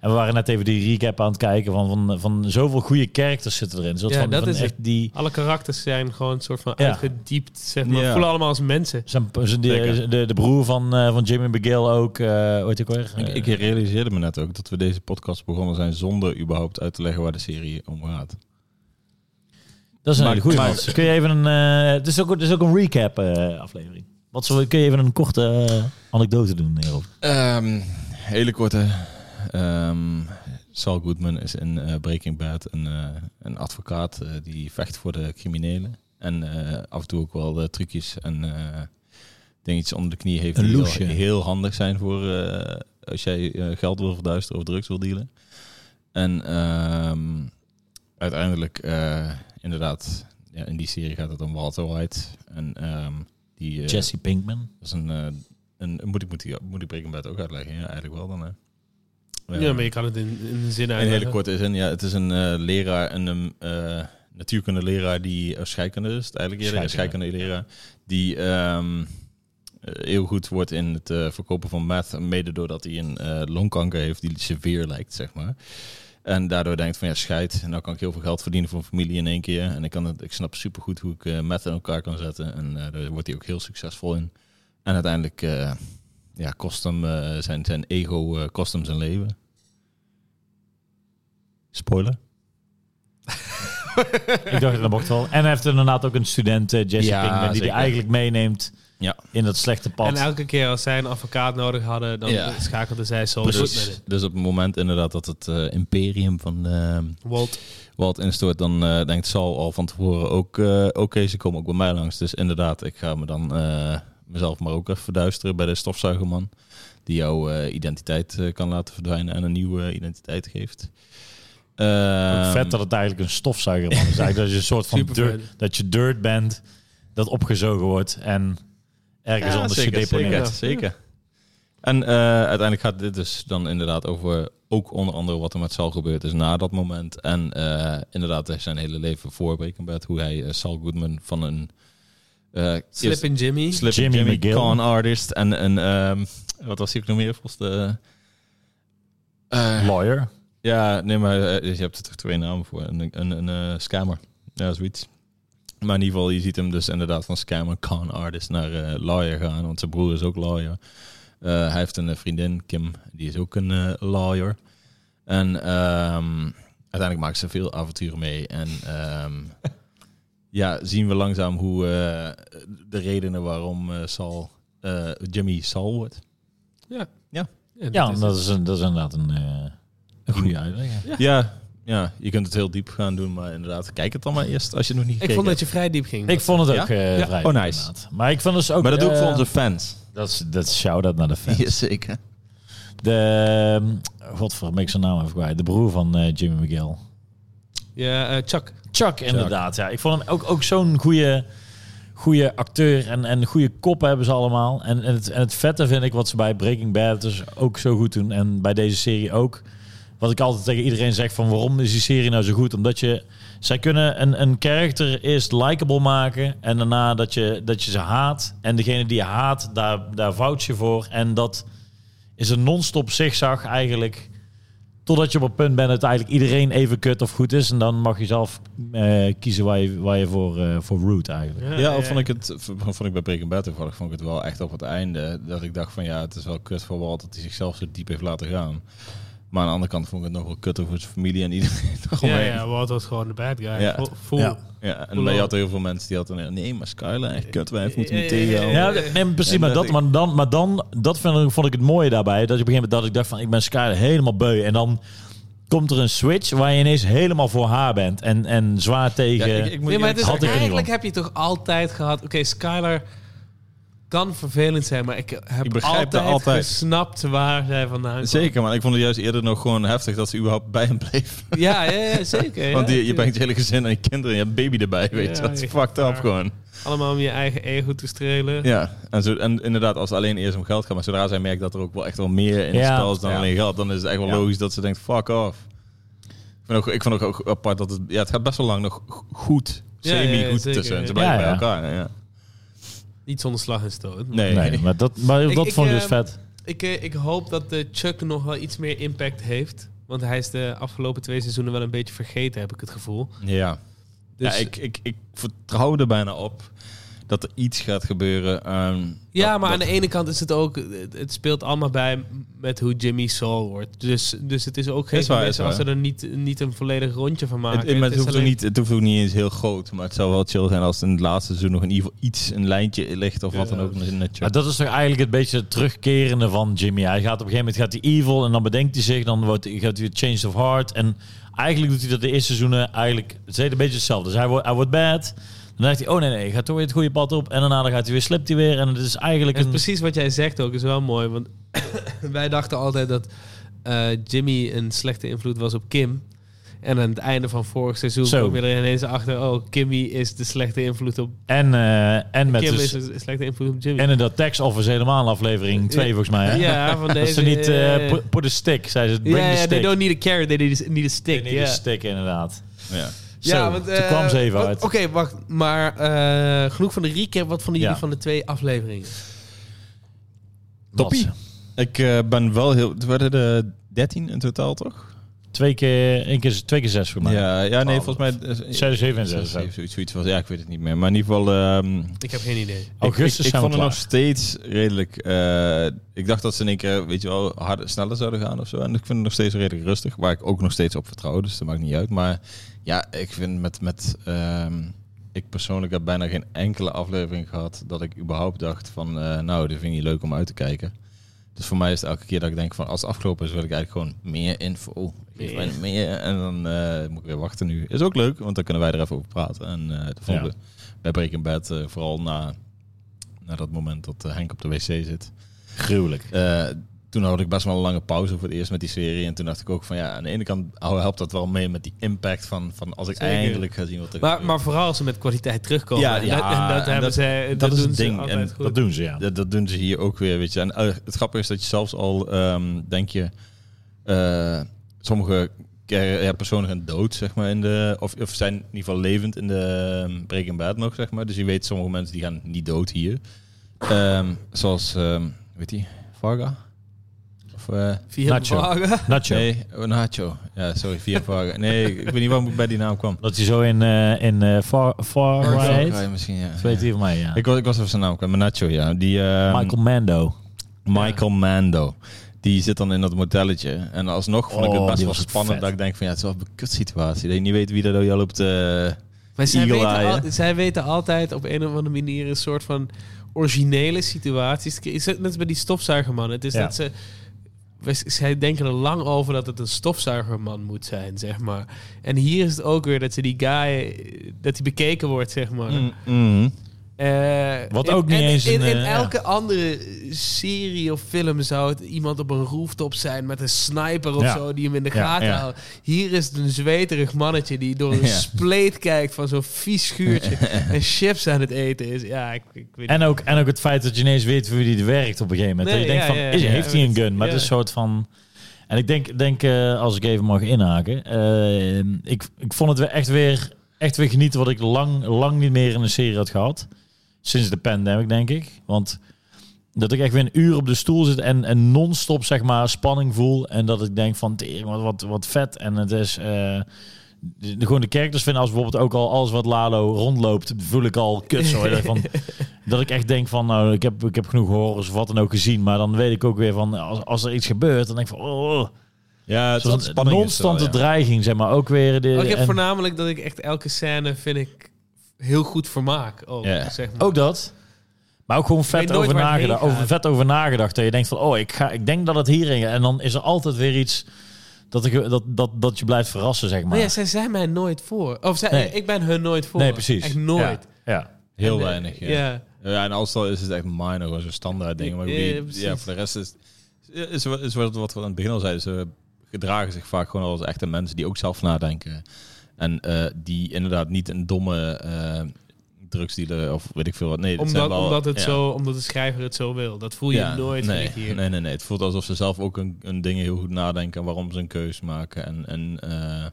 C: En we waren net even die recap aan het kijken van, van, van zoveel goede characters zitten erin. Zodat
A: Ja,
C: van,
A: dat
C: van
A: is
C: echt die
A: Alle karakters zijn gewoon een soort van
C: Ja.
A: uitgediept, zeg maar.
B: Ja.
A: Voelen allemaal als mensen.
C: zijn, zijn die-
B: Zeker.
C: de, de broer van, eh, van Jimmy McGill ook, eh ooit ook weer.
B: Ik, ik realiseerde me net ook dat we deze podcast begonnen zijn zonder überhaupt uit te leggen waar de serie om gaat.
C: Eh, Dat is een
B: Maar-
C: hele goede
B: maar-
C: man. Kun je even een... eh, het, is ook, het is ook een recap eh, aflevering. Wat zullen we- kun je even een korte eh, anekdote doen eh, hierover?
B: Ehm, hele korte. Ehm, Saul Goodman is in eh, Breaking Bad een, eh, een advocaat eh, die vecht voor de criminelen. En eh, af en toe ook wel eh, trucjes en eh, dingetjes onder de knie heeft
C: Een
B: die heel,
C: loesje.
B: heel handig zijn voor eh, als jij eh, geld wil verduisteren of drugs wil dealen. En ehm, uiteindelijk, eh, inderdaad, ja, in die serie gaat het om Walter White. En ehm, die eh,
C: Jesse Pinkman.
B: dat is een, eh, een, moet ik, moet ik, moet ik Breaking Bad ook uitleggen? Ja, eigenlijk wel dan. Hè.
A: Ja, maar je kan het in, in een zin
B: een
A: uitleggen.
B: hele korte zin. Ja, het is een eh, leraar, een um, eh, natuurkunde leraar die eh, scheikunde is, het eigenlijk eerder een
C: Scheikunde.
B: scheikunde leraar die ehm, eh, heel goed wordt in het eh, verkopen van meth, mede doordat hij een eh, longkanker heeft die severe lijkt, zeg maar. En daardoor denkt van ja, scheid. Nou kan ik heel veel geld verdienen voor mijn familie in één keer. En ik, kan het, ik snap supergoed hoe ik eh meth in elkaar kan zetten. En eh, daar wordt hij ook heel succesvol in. En uiteindelijk eh, ja, kost hem eh, zijn, zijn ego eh, kost hem zijn leven. Spoiler?
C: Ik dacht dat mocht wel. En hij heeft inderdaad ook een student, eh, Jesse
B: Ja,
C: Pinkman, die hij
B: zeker.
C: eigenlijk meeneemt
B: Ja.
C: in dat slechte
A: En
C: pad.
A: elke keer als zij een advocaat nodig hadden, dan
B: Ja.
A: schakelde zij zo
B: Dus, dus op het moment inderdaad dat het eh, imperium van eh,
A: Walt.
B: Walt instort, dan eh, denkt Sal al van tevoren ook, eh, oké, ze komen ook bij mij langs. Dus inderdaad, ik ga me dan eh, mezelf maar ook even verduisteren bij de stofzuigerman. Die jouw eh, identiteit eh, kan laten verdwijnen en een nieuwe identiteit geeft.
C: Ook
B: Ehm,
C: vet dat het eigenlijk een stofzuiger man is. Eigenlijk dat je een soort van
A: Supervet.
C: dirt, dat je dirt bent, dat opgezogen wordt en ergens anders gedeponeerd.
B: Zeker, zeker. En eh, uiteindelijk gaat dit dus dan inderdaad over ook onder andere wat er met Sal gebeurd is na dat moment. En eh, inderdaad zijn hele leven voor Breaking Bad. Hoe hij eh, Sal Goodman van een... eh, eerst-
A: Slippin' Jimmy.
B: Slip
C: Jimmy
B: Jimmy,
C: McGill.
B: con artist en een... ehm, wat was hij ook nog meer volgens de... Eh,
C: Lawyer.
B: ja, nee, maar eh, je hebt er toch twee namen voor. Een, een, een eh, scammer. Ja, zoiets. Maar in ieder geval, je ziet hem dus inderdaad van scammer, con artist naar eh, lawyer gaan. Want zijn broer is ook lawyer. Eh, hij heeft een eh, vriendin, Kim, die is ook een eh, lawyer. En ehm, uiteindelijk maakt ze veel avonturen mee. En ehm, ja, zien we langzaam hoe eh, de redenen waarom eh, Sal, eh, Jimmy Sal wordt.
C: Ja,
A: dat is
C: dat
A: het.
C: is, een, dat is inderdaad een, eh, een goede uitleg. hè.
B: Ja, ja, je kunt het heel diep gaan doen, maar inderdaad, kijk het dan maar eerst als je het nog
A: Ik
B: niet gekeken
A: vond dat je vrij diep ging.
C: Ik vond het ook
B: Ja?
C: eh,
B: Ja.
C: vrij
B: Oh,
C: goed,
B: nice.
C: inderdaad. Maar ik vond dus ook...
B: Maar dat doe ik
C: eh,
B: voor onze fans.
C: Dat is, dat is shout-out naar de fans.
B: zeker.
C: De... ehm, Godver, ben ik zijn naam even kwijt. De broer van eh, Jimmy McGill.
A: Ja, eh, Chuck.
C: Chuck, inderdaad. Ja. Ik vond hem ook, ook zo'n goede, goede acteur. En, en goede koppen hebben ze allemaal. En, en, het, en het vette vind ik wat ze bij Breaking Bad dus ook zo goed doen. En bij deze serie ook. Wat ik altijd tegen iedereen zeg van waarom is die serie nou zo goed? Omdat je... Zij kunnen een, een karakter eerst likable maken. En daarna dat je, dat je ze haat. En degene die je haat, daar, daar vouwt je voor. En dat is een non-stop zigzag eigenlijk. Totdat je op het punt bent dat eigenlijk iedereen even kut of goed is. En dan mag je zelf eh, kiezen waar je, waar je voor, eh voor root eigenlijk.
B: Ja, of vond ik het v- vond ik bij Breaking Bad toevallig vond ik het wel echt op het einde dat ik dacht van ja, het is wel kut voor Walt dat hij zichzelf zo diep heeft laten gaan. Maar aan de andere kant vond ik het nog wel kut voor zijn familie en iedereen
A: Ja,
B: eromheen.
A: ja, Walt was gewoon de bad guy.
B: Ja.
A: Vo- Voel.
C: Ja.
B: Ja, en je had heel veel mensen die hadden eh, nee, maar Skyler echt kut wijf, moeten we
A: Ja,
B: tegenhouden.
C: Ja, nee, maar precies.
B: En
C: Maar,
B: dat
C: dat,
B: ik-
C: maar, dan, maar dan, dat vind ik, vond ik het mooie daarbij. Dat je op een gegeven moment dat ik dacht van, ik ben Skyler helemaal beu. En dan komt er een switch waar je ineens helemaal voor haar bent. En, en zwaar tegen...
B: Ja, ik, ik moet
A: Nee, maar het is
C: Had ik er niet
A: eigenlijk
C: van.
A: heb je toch altijd gehad... Oké, Skylar kan vervelend zijn, maar ik heb
B: Ik begrijp haar
A: altijd,
B: altijd.
A: gesnapt waar zij vandaan komt.
B: Zeker, maar ik vond het juist eerder nog gewoon heftig dat ze überhaupt bij hem bleef.
A: Ja, ja, ja, zeker.
B: Want
A: ja,
B: je, je
A: tuurlijk.
B: brengt je hele gezin en je kinderen en je hebt baby erbij, weet je.
A: Ja,
B: Dat is
A: echt
B: fucked up
A: waar.
B: gewoon.
A: Allemaal om je eigen ego te strelen.
B: Ja, en, zo, en inderdaad, als het alleen eerst om geld gaat, maar zodra zij merkt dat er ook wel echt wel meer in
C: Ja.
B: het spel is dan
A: Ja.
B: alleen geld, dan is het echt wel
C: Ja.
B: logisch dat ze denkt, fuck off. Ik vond ook, ik vond ook, ook apart dat het, ja, het gaat best wel lang nog go- goed,
A: Ja, ja, ja,
B: semi-goed
A: zeker,
B: tussen.
A: ja.
B: Ze blijven
C: Ja,
B: bij
C: ja.
B: elkaar, ja.
A: Niet zonder slag en stoot.
B: Nee,
C: Nee, maar dat, maar
A: Ik-
C: dat
A: ik,
C: vond ik dus
A: eh,
C: vet.
A: Ik, eh, ik hoop dat de Chuck nog wel iets meer impact heeft. Want hij is de afgelopen twee seizoenen wel een beetje vergeten, heb ik het gevoel.
B: ja.
A: Dus
B: ja ik, ik, ik vertrouwde bijna op dat er iets gaat gebeuren. ehm,
A: Ja,
B: dat-
A: maar aan
B: dat-
A: de ene kant is het ook... Het, het speelt allemaal bij met hoe Jimmy Soul wordt. Dus, dus het is ook geen
B: Is waar,
A: gemis
B: is waar.
A: als ze er niet, niet een volledig rondje van maken.
B: Het, maar het,
A: is
B: hoeft ook
A: alleen-
B: niet, het hoeft ook niet eens heel groot, maar het zou wel chill zijn als het in het laatste seizoen nog in ieder geval iets, een lijntje ligt of wat dan
A: Ja.
B: ook. in het
C: Maar dat is toch eigenlijk het beetje het terugkerende van Jimmy. Hij gaat op een gegeven moment gaat hij evil en dan bedenkt hij zich, dan wordt, gaat hij change of heart. En eigenlijk doet hij dat de eerste seizoenen eigenlijk het is een beetje hetzelfde. Dus hij wordt, hij wordt bad, dan denkt hij, oh nee, nee, ik ga toch weer het goede pad op. En daarna dan gaat hij weer, slipt hij weer. En het is eigenlijk
A: En
C: een...
A: precies wat jij zegt ook is wel mooi. Want wij dachten altijd dat eh, Jimmy een slechte invloed was op Kim. En aan het einde van vorig seizoen
C: Zo.
A: kwam je er ineens achter... oh, Kimmy is de slechte invloed op...
C: En, eh, en met
A: Kim
C: dus-
A: is de slechte invloed op Jimmy.
C: en in dat tax office helemaal aflevering 2 volgens mij. Hè?
A: ja, van
C: Dat
A: deze...
C: ze niet, eh,
A: ja, ja.
C: put, put a stick, zei ze, bring
A: Ja,
C: the
A: ja, they
C: stick.
A: don't need a carrot, they need a, need a stick.
C: Bring
A: ja.
C: the stick, inderdaad.
B: Ja.
C: Zo, toen
A: eh,
C: kwam ze even
A: wat-
C: uit.
A: Oké, wacht. Maar eh, genoeg van de recap. Wat vonden jullie
C: Ja.
A: van de twee afleveringen?
B: Toppie.
C: Matze.
B: Ik eh, ben wel heel... Het werden er 13 in totaal, toch?
C: Twee keer, één keer, twee keer zes voor mij.
B: Ja, ja nee,
C: Twaalf.
B: volgens mij... eh,
C: Zes, zeven en
B: zes,
C: zes.
B: zeven, zoiets, zoiets was. Ja, ik weet het niet meer. Maar in ieder geval... ehm,
A: Ik heb geen idee.
C: Augustus
B: ik, ik, ik
C: zijn we
B: vond het nog
C: klaar.
B: steeds redelijk... eh, ik dacht dat ze in één keer, weet je wel, harder, sneller zouden gaan of zo. En ik vind het nog steeds redelijk rustig. Waar ik ook nog steeds op vertrouw, dus dat maakt niet uit. Maar ja, ik vind met... met ehm, ik persoonlijk heb bijna geen enkele aflevering gehad dat ik überhaupt dacht van... eh, nou, dit vind ik niet leuk om uit te kijken. Dus voor mij is het elke keer dat ik denk van als het afgelopen is wil ik eigenlijk gewoon meer info. Geef mij meer. En dan eh, moet ik weer wachten nu. Is ook leuk, want dan kunnen wij er even over praten. En eh dat vonden
C: Ja.
B: we bij Breaking Bad eh, vooral na, na dat moment dat eh, Henk op de wc zit.
C: Gruwelijk.
B: Eh, toen had ik best wel een lange pauze voor het eerst met die serie. En toen dacht ik ook van ja, aan de ene kant hou- helpt dat wel mee met die impact van, van als ik
A: Zeker.
B: eindelijk ga zien wat er
A: Maar,
B: gebeurt.
A: maar vooral als ze met kwaliteit terugkomen.
B: Ja,
A: En
B: ja,
A: dat, en dat
B: en
A: hebben
B: dat-
A: ze. Dat,
B: dat is
A: doen
B: het
A: ze
B: ding.
A: altijd
B: En
A: goed.
C: Dat doen ze, ja.
B: Dat, dat doen ze hier ook weer, weet je. En eh, het grappige is dat je zelfs al, ehm, denk je, eh, sommige ker- ja, personen gaan dood, zeg maar, in de, of, of zijn in ieder geval levend in de ehm, Breaking Bad nog, zeg maar. Dus je weet, sommige mensen die gaan niet dood hier. Ehm, zoals, ehm, weet die, Varga? Of, eh,
A: Via
C: Nacho.
A: vragen.
C: Nacho.
B: nee, oh, Nacho. Ja, sorry, via Varga. Nee, ik, ik weet niet waarom ik bij die naam kwam.
C: Dat hij zo in, eh in eh, Far, far Cry heet.
B: Varga misschien, ja.
C: Dat weet hij van mij, ja.
B: Ik, was- ik was even zijn naam kwijt, maar Nacho, ja. Die, ehm,
C: Michael Mando.
B: Michael Mando. Die zit dan in dat motelletje. En alsnog vond ik het
C: Oh,
B: best
C: die
B: wel
C: was
B: spannend.
C: vet.
B: Dat ik denk van ja, het is wel een kut situatie. Dat je niet weet wie er jou loopt. eh
A: Maar zij
B: Eagle
A: weten,
B: Eye,
A: al-
B: hè?
A: zij weten altijd op een of andere manier een soort van originele situaties. te creë- Is het net als bij die stofzuigerman? Het is
C: Ja.
A: dat ze. we- Zij denken er lang over dat het een stofzuigerman moet zijn, zeg maar. En hier is het ook weer dat ze die guy. eh, dat hij bekeken wordt, zeg maar.
B: mm.
A: Eh,
C: Wat
A: in-
C: ook niet
A: en-
C: eens
A: In,
C: een,
A: in
C: eh,
A: elke andere serie of film zou het iemand op een rooftop zijn met een sniper of
C: Ja.
A: zo die hem in de
C: Ja,
A: gaten
C: ja.
A: houdt. Hier is het een zweterig mannetje die door een
B: Ja.
A: spleet kijkt van zo'n vies schuurtje en chips aan het eten is. Ja, ik, ik weet niet.
C: En ook, en ook het feit dat je ineens weet hoe die werkt op een gegeven moment.
A: Nee,
C: dat je denkt
A: ja,
C: van,
A: ja,
C: is,
A: ja,
C: heeft
A: ja,
C: hij een
A: dat-
C: gun? Maar
A: ja.
C: het is een soort van... En ik denk, denk eh, als ik even mag inhaken. eh, ik, ik vond het weer echt weer, echt weer genieten wat ik lang, lang niet meer in een serie had gehad. Sinds de pandemic, denk ik. Want dat ik echt weer een uur op de stoel zit en, en non-stop zeg maar spanning voel. En dat ik denk van, tering, wat, wat, wat vet. En het is... eh, de, de- gewoon de characters vinden als bijvoorbeeld ook al alles wat Lalo rondloopt, voel ik al kut zo. Dat, van, dat ik echt denk van, nou, ik heb, ik heb genoeg horrors of wat dan ook gezien. Maar dan weet ik ook weer van, als, als er iets gebeurt, dan denk ik van, oh.
B: Ja, het is
C: Zo'n
B: wat spanning. is er wel,
C: non-stante
B: ja.
C: dreiging, zeg maar. Ook weer de...
A: Ook, Oh, ik heb
C: en-
A: voornamelijk dat ik echt elke scène vind ik heel goed vermaak. Ook,
B: Ja.
A: zeg maar.
C: ook dat. Maar ook gewoon
A: weet
C: vet
A: nooit
C: over,
A: waar het heen
C: nagedacht, over,
A: gaat.
C: vet over nagedacht. Dat je denkt van, oh, ik, ga, ik denk dat het hierin gaat. En dan is er altijd weer iets dat, ik, dat, dat, dat je blijft verrassen, zeg maar.
A: Maar ja, zij zijn mij nooit voor. Of zij,
C: Nee.
A: ik ben hun nooit voor.
C: nee, precies.
A: Echt nooit.
C: Ja, ja.
B: Heel
A: En, eh,
B: weinig. Ja. Ja.
A: ja.
B: en als dan is het echt minor, gewoon zo'n standaard ding. Maar ik
A: Ja,
B: bedoel,
A: ja, precies.
B: ja, voor de rest is, is, wat- is wat, wat we aan het begin al zeiden. Ze gedragen zich vaak gewoon als echte mensen die ook zelf nadenken. En eh, die inderdaad niet een domme eh drugsdealer of weet ik veel wat. Nee, dat zijn
A: Omdat,
B: wel,
A: omdat, het
B: ja.
A: zo, omdat de schrijver het zo wil. Dat voel je nooit
B: nee,
A: vind ik hier.
B: Nee, nee, nee. Het voelt alsof ze zelf ook een, een dingen heel goed nadenken en waarom ze een keus maken. En, en eh,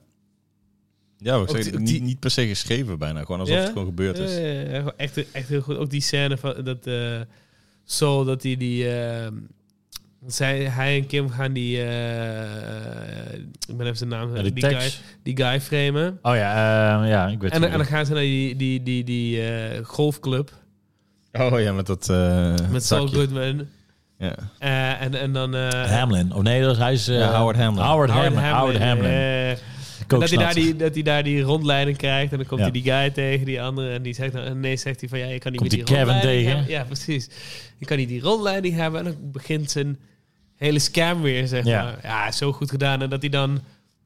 B: ja, wat ik
A: Ook
B: zeg,
A: die- ook
B: niet,
A: die-
B: niet per se geschreven bijna. Gewoon alsof
A: Ja?
B: het gewoon gebeurd is.
A: Ja, ja, ja, gewoon echt, echt heel goed. Ook die scène van dat eh Soul, dat hij die. eh, want zij, hij en Kim gaan die. eh, ik ben even zijn naam.
C: Ja,
A: die,
C: die
A: guy,
C: tekst.
A: die guy framen.
C: Oh ja, eh, ja, ik weet
A: En,
C: het
A: dan- en
C: niet.
A: dan gaan ze naar die, die, die, die eh, golfclub.
B: Oh ja, met dat eh
A: Met Saul
B: zakje.
A: Goodman.
B: Ja.
A: Eh, en, en dan... eh,
C: Hamlin. Of nee, dat is, hij is eh,
B: Ja, Howard Hamlin.
C: Howard Hamlin. Howard Hamlin.
A: eh,
C: Ik ook
A: dat, hij daar
C: snapte.
A: die, dat hij daar die rondleiding krijgt. En dan komt
C: Ja.
A: hij die guy tegen, die andere. En die zegt, dan- en nee, zegt hij van ja, je kan niet
C: Komt
A: meer die,
C: die Kevin
A: rondleiding
C: tegen?
A: hebben. Ja, precies. Je kan niet die rondleiding hebben. En dan begint zijn hele scam weer, zeg
C: Ja.
A: maar. Ja, zo goed gedaan. En dat hij dan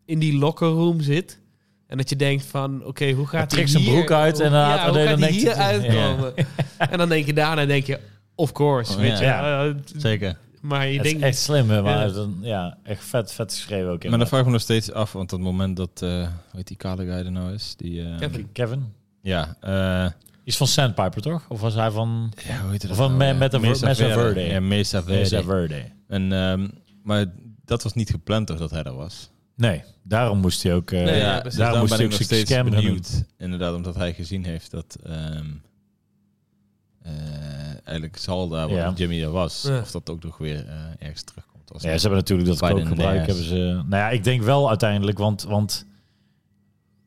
A: in die locker room zit. En dat je denkt van, oké, hoe
C: Hij
A: gaat hij
C: trekt zijn
A: hier-
C: broek uit en
A: hoe-
C: dan-
A: ja,
C: en
A: hoe
C: dan
A: gaat hij
C: denkt
A: hier
C: hij- ja.
A: uitkomen? En dan denk je daarna, denk je, of course,
B: Oh,
A: weet
B: ja.
A: je.
C: Ja.
A: Eh,
B: Zeker.
A: Maar je
C: Het is
A: denkt,
C: echt slim, hè, maar
A: Ja.
C: hij is dan, ja, echt vet, vet geschreven ook. eh,
B: Maar dan
C: inderdaad.
B: vraag ik me nog steeds af, want op het moment dat, eh hoe heet die kale guy er nou is? Die, eh,
A: Kevin.
C: Kevin,
B: Ja, eh,
C: die is van Sandpiper toch? Of was hij van
B: ja, hoe heette dat?
C: Van
B: nou,
A: Oh,
C: Me-
B: ja?
C: Meta- Mesa Verde.
B: Ja, Mesa Verde.
C: Mesa Verde?
B: En, ehm, maar dat was niet gepland toch dat hij er was?
C: Nee, daarom moest hij ook. eh,
A: Nee, ja,
B: ja,
A: precies.
B: dus
C: Daarom
B: daarom
C: moest
B: ben
C: hij
B: ik
C: ook
B: nog
C: zijn
B: steeds
C: scam gaan
B: benieuwd. Inderdaad, omdat hij gezien heeft dat ehm, eh, eigenlijk Saul daar, waar
C: Ja.
B: Jimmy daar was.
A: Ja.
B: Of dat ook nog weer eh, ergens terugkomt. Als
C: Ja, ze hebben natuurlijk dat
B: Biden
C: kookgebruik.
B: en de
C: Hebben ze, nou ja, ik denk wel uiteindelijk, want, want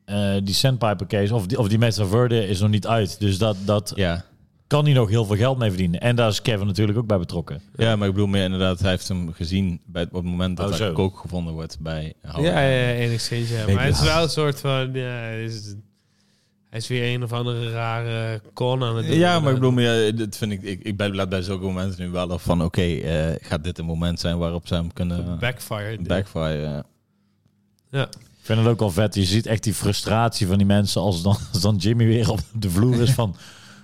C: eh, die Sandpiper case of die, of die Meta Verde is nog niet uit. Dus dat, dat
B: ja.
C: kan hij nog heel veel geld mee verdienen. En daar is Kevin natuurlijk ook bij betrokken.
B: ja, maar ik bedoel meer inderdaad, hij heeft hem gezien bij, op het moment dat
C: Oh,
B: hij
C: zo.
B: kook gevonden wordt bij Howard.
A: Ja, ja, enigszins. Ja.
C: Weet
A: Maar het is
C: je.
A: wel een soort van. Ja, hij is- hij is weer een of andere rare con aan het doen.
B: Ja, maar ik bedoel, meer, dat vind ik, ik, ik ben laat bij zulke momenten nu wel af van, oké, eh, gaat dit een moment zijn waarop ze hem kunnen
A: Backfire.
B: backfire? ja.
A: Ja.
C: Ik vind het ook wel vet. Je ziet echt die frustratie van die mensen als dan, als dan Jimmy weer op de vloer is van...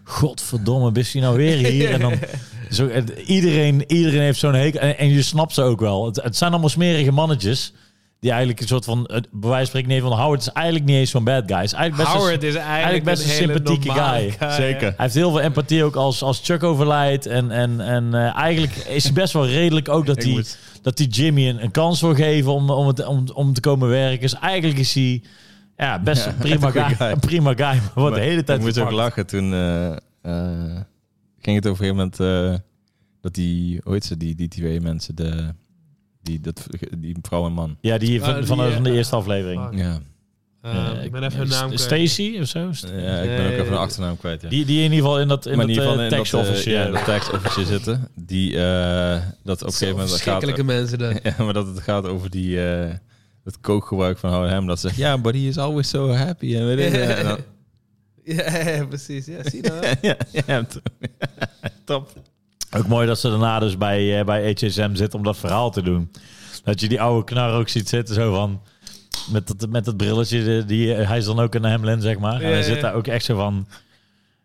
C: Godverdomme, is hij nou weer hier? En dan, zo, en iedereen, iedereen heeft zo'n hekel. En, en je snapt ze ook wel. Het, het zijn allemaal smerige mannetjes. Die eigenlijk een soort van... Het, bij wijze van spreken, nee, van Howard is eigenlijk niet eens zo'n bad guy. Hij Is eigenlijk best een-
A: Howard is eigenlijk,
C: eigenlijk best een
A: hele
C: sympathieke
A: normale
C: guy.
B: Zeker.
C: hij heeft heel veel empathie ook als, als Chuck overlijdt. En, en, en eh, eigenlijk is hij best wel redelijk ook dat
B: Ik
C: hij,
B: moet-
C: dat hij Jimmy een, een kans wil geven om, om, het, om, om te komen werken. Dus eigenlijk is hij ja, best een prima
B: echt een
C: guy.
B: goede guy.
C: Een prima guy, maar wordt de
B: Maar
C: hele tijd
B: Ik moest ook
C: gepakt.
B: lachen toen eh, eh, ging het over een gegeven moment eh, dat die, hoe heet ze, die, die twee mensen, de, die, dat, die vrouw en man.
C: Ja, die van,
A: Oh, die,
C: van, de-
A: eh,
C: van de eerste aflevering.
A: fuck.
B: Ja,
A: Ehm, ik ben even hun
C: Eh,
A: naam kwijt.
C: Stacy of zo? St-
B: ja ik ben ook even de achternaam kwijt. Ja.
C: Eh, Die, die in ieder geval in dat, in
B: Maar
C: dat
B: in ieder geval
C: eh, tax
B: in dat, eh,
C: office,
B: ja,
C: ja.
B: dat tax office zitten. Die eh, dat op een gegeven moment gaat.
A: Verschrikkelijke mensen dan.
B: Ja, maar dat het gaat over die eh het kookgebruik van Howard Ham. Dat ze zegt, ja, but he is always so happy. En weet ik, eh, en dan-
A: Ja, precies. Ja, zie je dat?
B: ja, ja, top.
C: Ook mooi dat ze daarna dus bij, eh bij HSM zit om dat verhaal te doen. Dat je die oude knar ook ziet zitten, zo van... Met dat, met dat brilletje, die, die- eh, hij is dan ook een Hamlin, zeg maar. en
A: Ja,
C: hij
A: ja.
C: zit daar ook echt zo van...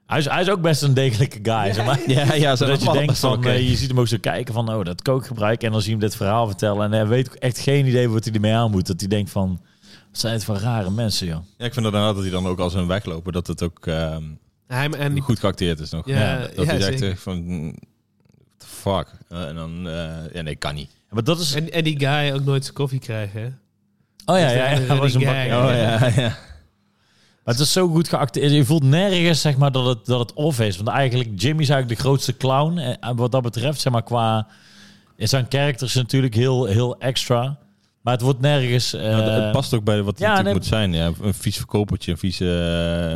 C: Hij is, hij is ook best een degelijke guy, zeg maar.
B: Ja, ja, ze
C: Zodat je denkt
B: best wel
C: van,
B: oké.
C: eh, je ziet hem ook zo kijken van, oh, dat kookgebruik. En dan zie je hem dit verhaal vertellen. En hij weet ook echt geen idee wat hij ermee aan moet. Dat hij denkt van, wat zijn het voor rare mensen, joh.
B: Ja, ik vind dat inderdaad dat hij dan ook als een wegloper, dat het ook ehm,
A: Hij en die...
B: goed geacteerd is nog.
A: Ja, ja,
B: Dat hij
A: zeker.
B: zegt echt van, mm, what the fuck? Eh, en dan, eh, ja nee, kan niet.
C: Maar dat is...
A: En, en die guy ook nooit zijn koffie krijgen. hè?
C: Oh ja,
A: is de
C: ja, ja,
A: enige
C: dat was een
A: guy.
C: bak-
A: Oh, ja.
B: ja.
C: Maar het is zo goed geacteerd. Je voelt nergens zeg maar, dat, het, dat het off is. Want eigenlijk, Jimmy is eigenlijk de grootste clown. Eh, Wat dat betreft, zeg maar, qua... Zijn characters natuurlijk heel, heel extra. Maar het wordt nergens... eh,
B: Ja, het past ook bij wat hij
C: ja,
B: natuurlijk
C: nee.
B: moet zijn. Ja. Een vies verkopertje, een vieze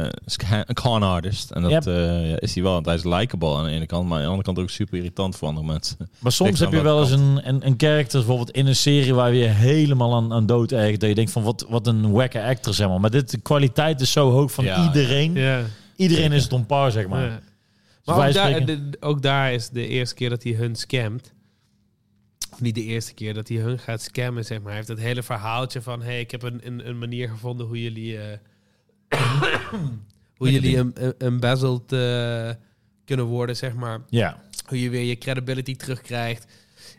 B: eh, sca- een con artist. En dat eh, ja, is hij wel, want hij is likable aan de ene kant, maar aan de andere kant ook super irritant voor andere mensen.
C: Maar soms
B: Ligt
C: heb
B: aan
C: je wel eens
B: welke
C: een, een, een character, bijvoorbeeld in een serie waar we je helemaal aan, aan dood ergert. Dat je denkt van wat, wat een wacke actor, zeg maar. Maar dit, de kwaliteit is zo hoog van
B: Ja,
C: iedereen.
A: Ja.
C: Iedereen is het on par, zeg maar.
A: ja. Maar
C: wij
A: ook daar,
C: spreken-
A: de- ook daar is de eerste keer dat hij hun scamt. Of niet de eerste keer dat hij hun gaat scammen, zeg maar. Hij heeft dat hele verhaaltje van... hey, ik heb een, een, een manier gevonden hoe jullie... eh, hoe jullie em- em- embezzled eh, kunnen worden, zeg maar.
C: Ja.
A: Hoe je weer je credibility terugkrijgt.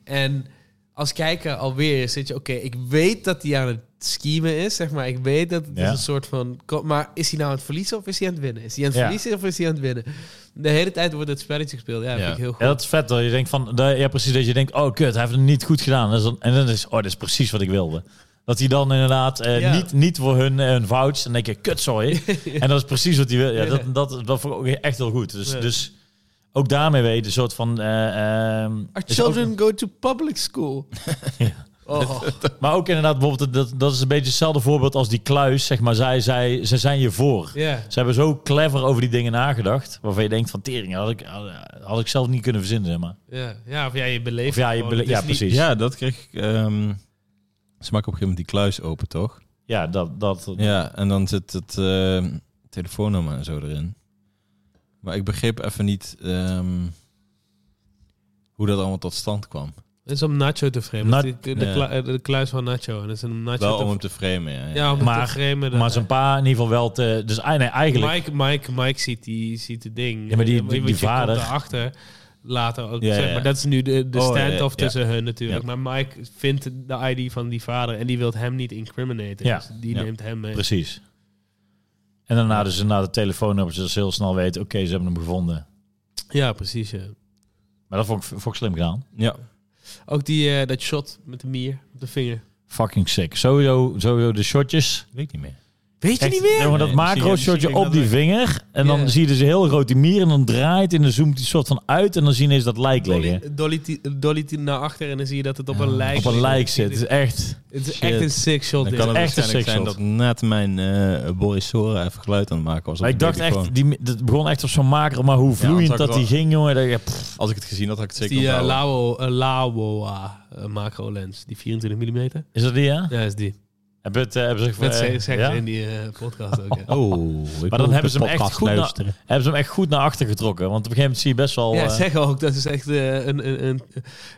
A: En als kijker alweer zit je... Oké, ik weet dat hij aan het schiemen is, zeg maar. Ik weet dat het
C: Ja.
A: is een soort van... Maar is hij nou aan het verliezen of is hij aan het winnen? Is hij aan het
C: Ja.
A: verliezen of is hij aan het winnen? De hele tijd wordt het spelletje gespeeld. Ja, dat
B: Ja.
A: vind ik heel goed.
C: Ja, dat is vet. Dat je denkt van, dat, ja, precies dat je denkt, oh kut, hij heeft het niet goed gedaan. En dan, en dan is, oh, dat is precies wat ik wilde. Dat hij dan inderdaad eh,
A: Ja.
C: niet, niet voor hun eh, een vouch. Dan denk je, kut, sorry. en dat is precies wat hij wil. Ja,
A: Ja.
C: dat, dat, dat vond ik ook echt heel goed. Dus,
A: Ja.
C: dus ook daarmee weet je, een soort van... eh, ehm,
A: Our
C: is ook-
A: children go to public school.
C: Ja.
A: Oh,
C: Maar ook inderdaad, bijvoorbeeld, dat, dat is een beetje hetzelfde voorbeeld als die kluis. Zeg maar, zij, zij, ze zijn je voor.
A: Ja.
C: Ze hebben zo clever over die dingen nagedacht. Waarvan je denkt van tering, had ik, had, had ik zelf niet kunnen verzinnen. Zeg maar.
A: Ja, ja, of ja, je beleeft
C: Of ja, je
A: gewoon.
C: bele-
A: Het is
C: ja
A: niet-
C: precies. Ja,
B: Ja, dat kreeg ik. ehm, ze maken op een gegeven moment die kluis open, toch?
C: dat, dat,
B: Ja, en dan zit het ehm, telefoonnummer en zo erin. Maar ik begreep even niet ehm, hoe dat allemaal tot stand kwam.
A: Het is om Nacho te framen.
C: Na-
A: Dat is de,
B: Ja.
A: kla- eh, de kluis van Nacho. En dat is om Nacho
B: Wel
A: te
B: om hem te framen, ja. ja.
A: Ja, om maar,
C: Maar-
A: te framen. dan-
C: maar zijn pa in ieder geval wel te... Dus ah, nee, eigenlijk...
A: Mike, Mike, Mike ziet, die, ziet het ding.
C: Ja,
A: Eh,
C: maar die- die-
A: want
C: die
A: je komt
C: vader-
A: erachter later ook.
B: Ja,
A: zeg
B: ja.
A: Maar dat is nu de, de
B: Oh, ja,
A: stand-off
B: ja.
A: tussen hun natuurlijk.
B: Ja.
A: Maar Mike vindt de ID van die vader en die wil hem niet incriminaten.
C: Ja.
A: Dus die
B: Ja.
A: neemt hem mee.
C: Precies. En daarna dus na de telefoonnummer, zodat ze heel snel weten... Oké, ze hebben hem gevonden.
A: Ja, precies. ja.
C: Maar dat vond ik, vond ik slim gedaan.
B: ja.
A: Ook die, eh, dat shot met de mier op de vinger.
C: Fucking sick. Sowieso, sowieso de shotjes.
B: Weet ik niet meer.
A: Weet je
C: Echt,
A: niet meer?
C: ja, maar dat
B: Nee,
C: macro
B: misschien-
C: shotje
B: misschien
C: op
B: dat
C: die vinger. En dan
A: Ja.
C: zie je dus een heel groot die mier. En dan draait en dan zoomt die soort van uit. En dan zie je ineens dat lijk liggen.
A: Dolly, Dolly, ti- Dolly ti- naar achter en dan zie je dat het op
B: Ja,
A: een lijk
C: Op een
A: ligt.
C: lijk zit. Het is echt...
A: Het is
B: Shit.
A: echt een sick shot.
B: Dan
A: dit.
B: kan het
C: echt een
B: waarschijnlijk zijn dat
C: sekshot.
B: net mijn eh Boris Sora even geluid aan het maken was. op
C: Maar ik
B: de
C: dacht echt,
B: telefoon.
C: die, dat begon echt op zo'n maker, maar hoe vloeiend
B: want zou ik
C: dat die
B: wel-
C: ging, jongen. Dat, je- pff,
B: Als ik het gezien had, had ik het zeker
A: Die eh,
B: onthouden.
A: Lao- eh, Laowa eh, macro lens, die 24 mm.
C: is dat die, ja?
A: Ja, is die.
C: Hebben het, eh, hebben ze,
A: Dat
C: eh,
A: ze- zeggen
C: ja?
A: ze in die eh, podcast ook. hè.
B: Oh, ik
C: Maar dan
B: moet
C: hebben
B: de
C: ze hem echt
B: podcast
C: goed na-
B: luisteren.
C: hebben ze hem echt goed naar achter getrokken? Want op een gegeven moment zie je best wel...
A: Ja,
C: eh,
A: zeggen ook. Dat is echt eh, een, een, een.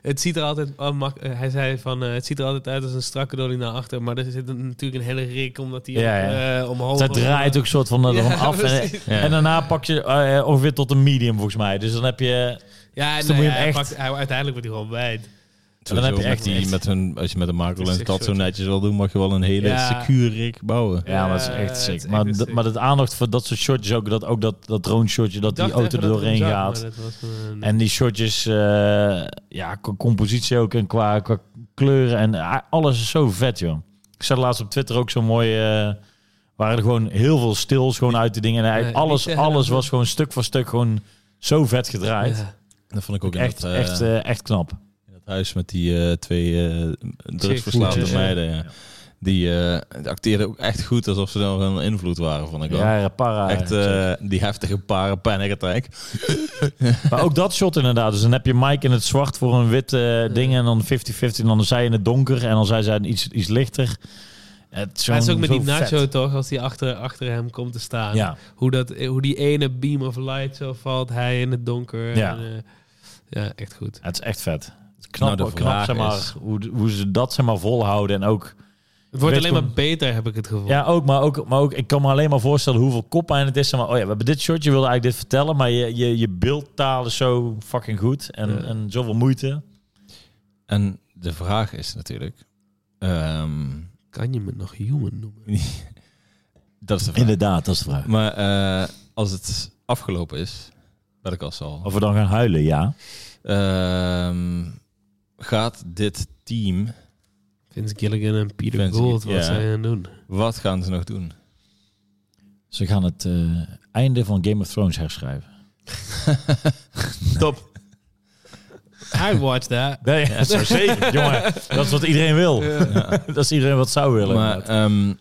A: Het ziet er altijd. al mak- eh, hij zei van. eh, het ziet er altijd uit als een strakke dolly naar achter. Maar er zit een- natuurlijk een hele rik omdat die
C: Ja,
A: ook,
C: ja.
A: eh, omhoog.
C: dat draait ook soort van eh,
A: Ja,
C: ervan af. En,
A: precies.
B: Ja.
C: en daarna pak je eh, ongeveer tot een medium, volgens mij. Dus dan heb je...
A: Ja,
C: Dus
A: en
C: dan moet je
A: hij
C: hem
A: pakt, hij, uiteindelijk wordt hij gewoon wijd.
C: dan heb je
B: Sowieso
C: echt
B: met die,
C: iets.
B: met hun, als je met een macro
A: Het is
B: lens
A: echt
B: dat zo
A: short.
B: netjes wil doen, mag je wel een hele
A: Ja.
B: secure rig bouwen.
C: Ja,
A: Ja,
C: maar dat is echt
A: het
C: sick.
A: is echt
C: maar,
A: een
C: d-
A: sick.
C: maar dat aandacht voor dat soort shotjes ook. Dat, ook dat, dat drone shotje dat
A: Ik
C: die
A: dacht
C: auto
A: even
C: er
A: dat ik
C: doorheen
A: hem zag,
C: gaat.
A: maar dat was eh, een-
C: En die shotjes, eh, ja, qua compositie ook en qua, qua kleuren en ah, alles is zo vet, joh. Ik zag laatst op Twitter ook zo'n mooie... eh, waren er gewoon heel veel stils gewoon uit die dingen. En eigenlijk
A: Nee,
C: alles,
A: niet, eh,
C: alles
A: dat-
C: was gewoon stuk voor stuk gewoon zo vet gedraaid.
A: Ja.
B: Dat vond ik ook in,
C: Echt,
B: dat, eh,
C: echt, eh, echt knap.
B: in dat huis met die eh, twee eh, drugsverslaafde
A: Chicks,
C: Dus, eh,
A: ja.
B: meiden. Ja. Die eh, die acteerden ook echt goed alsof ze dan een invloed waren, vond ik wel.
C: Ja, para.
B: Echt eh, die heftige paren panic attack.
C: Maar ook dat shot inderdaad. Dus dan heb je Mike in het zwart voor een wit eh, ding. En dan 50-50. En dan zij in het donker. En dan zij zijn iets, iets lichter. Het is,
A: Maar het is
C: gewoon
A: ook met
C: zo
A: die Nacho
C: vet.
A: toch, als die achter, achter hem komt te staan.
C: Ja.
A: Hoe, dat, hoe die ene beam of light zo valt, hij in het donker.
C: Ja.
A: En, eh, ja, echt goed.
C: Het is echt vet. Het is knap,
B: Nou, de
C: knap
B: vraag
C: zeg maar,
B: is-
C: hoe, hoe ze dat zeg maar, volhouden. En ook,
A: Het wordt
C: Weet
A: alleen maar
C: gewoon-
A: beter, heb ik het gevoel.
C: ja, ook, maar ook, maar ook, ik kan me alleen maar voorstellen hoeveel koppijn het is. Zeg maar, oh ja, we hebben dit shot, je wilde eigenlijk dit vertellen. Maar je, je, je beeldtaal is zo fucking goed. En,
A: Ja.
C: en zoveel moeite.
B: En de vraag is natuurlijk... ehm,
A: Kan je me nog human noemen?
B: dat is de vraag.
C: Inderdaad, dat is de vraag.
B: Maar eh, als het afgelopen is, wat ik al zal...
C: Of we dan gaan huilen, ja.
B: Ehm, gaat dit team,
A: Vince Gilligan en Peter
B: Vince
A: Gould,
B: Gill-
A: wat
B: ja.
A: zijn aan het doen?
B: wat gaan ze nog doen?
C: Ze gaan het eh, einde van Game of Thrones herschrijven.
A: Top. I watched that.
C: Nee, dat zou zeker. Jongen, dat is wat iedereen wil.
B: Ja.
C: Dat is iedereen wat zou willen.
B: maar, ehm,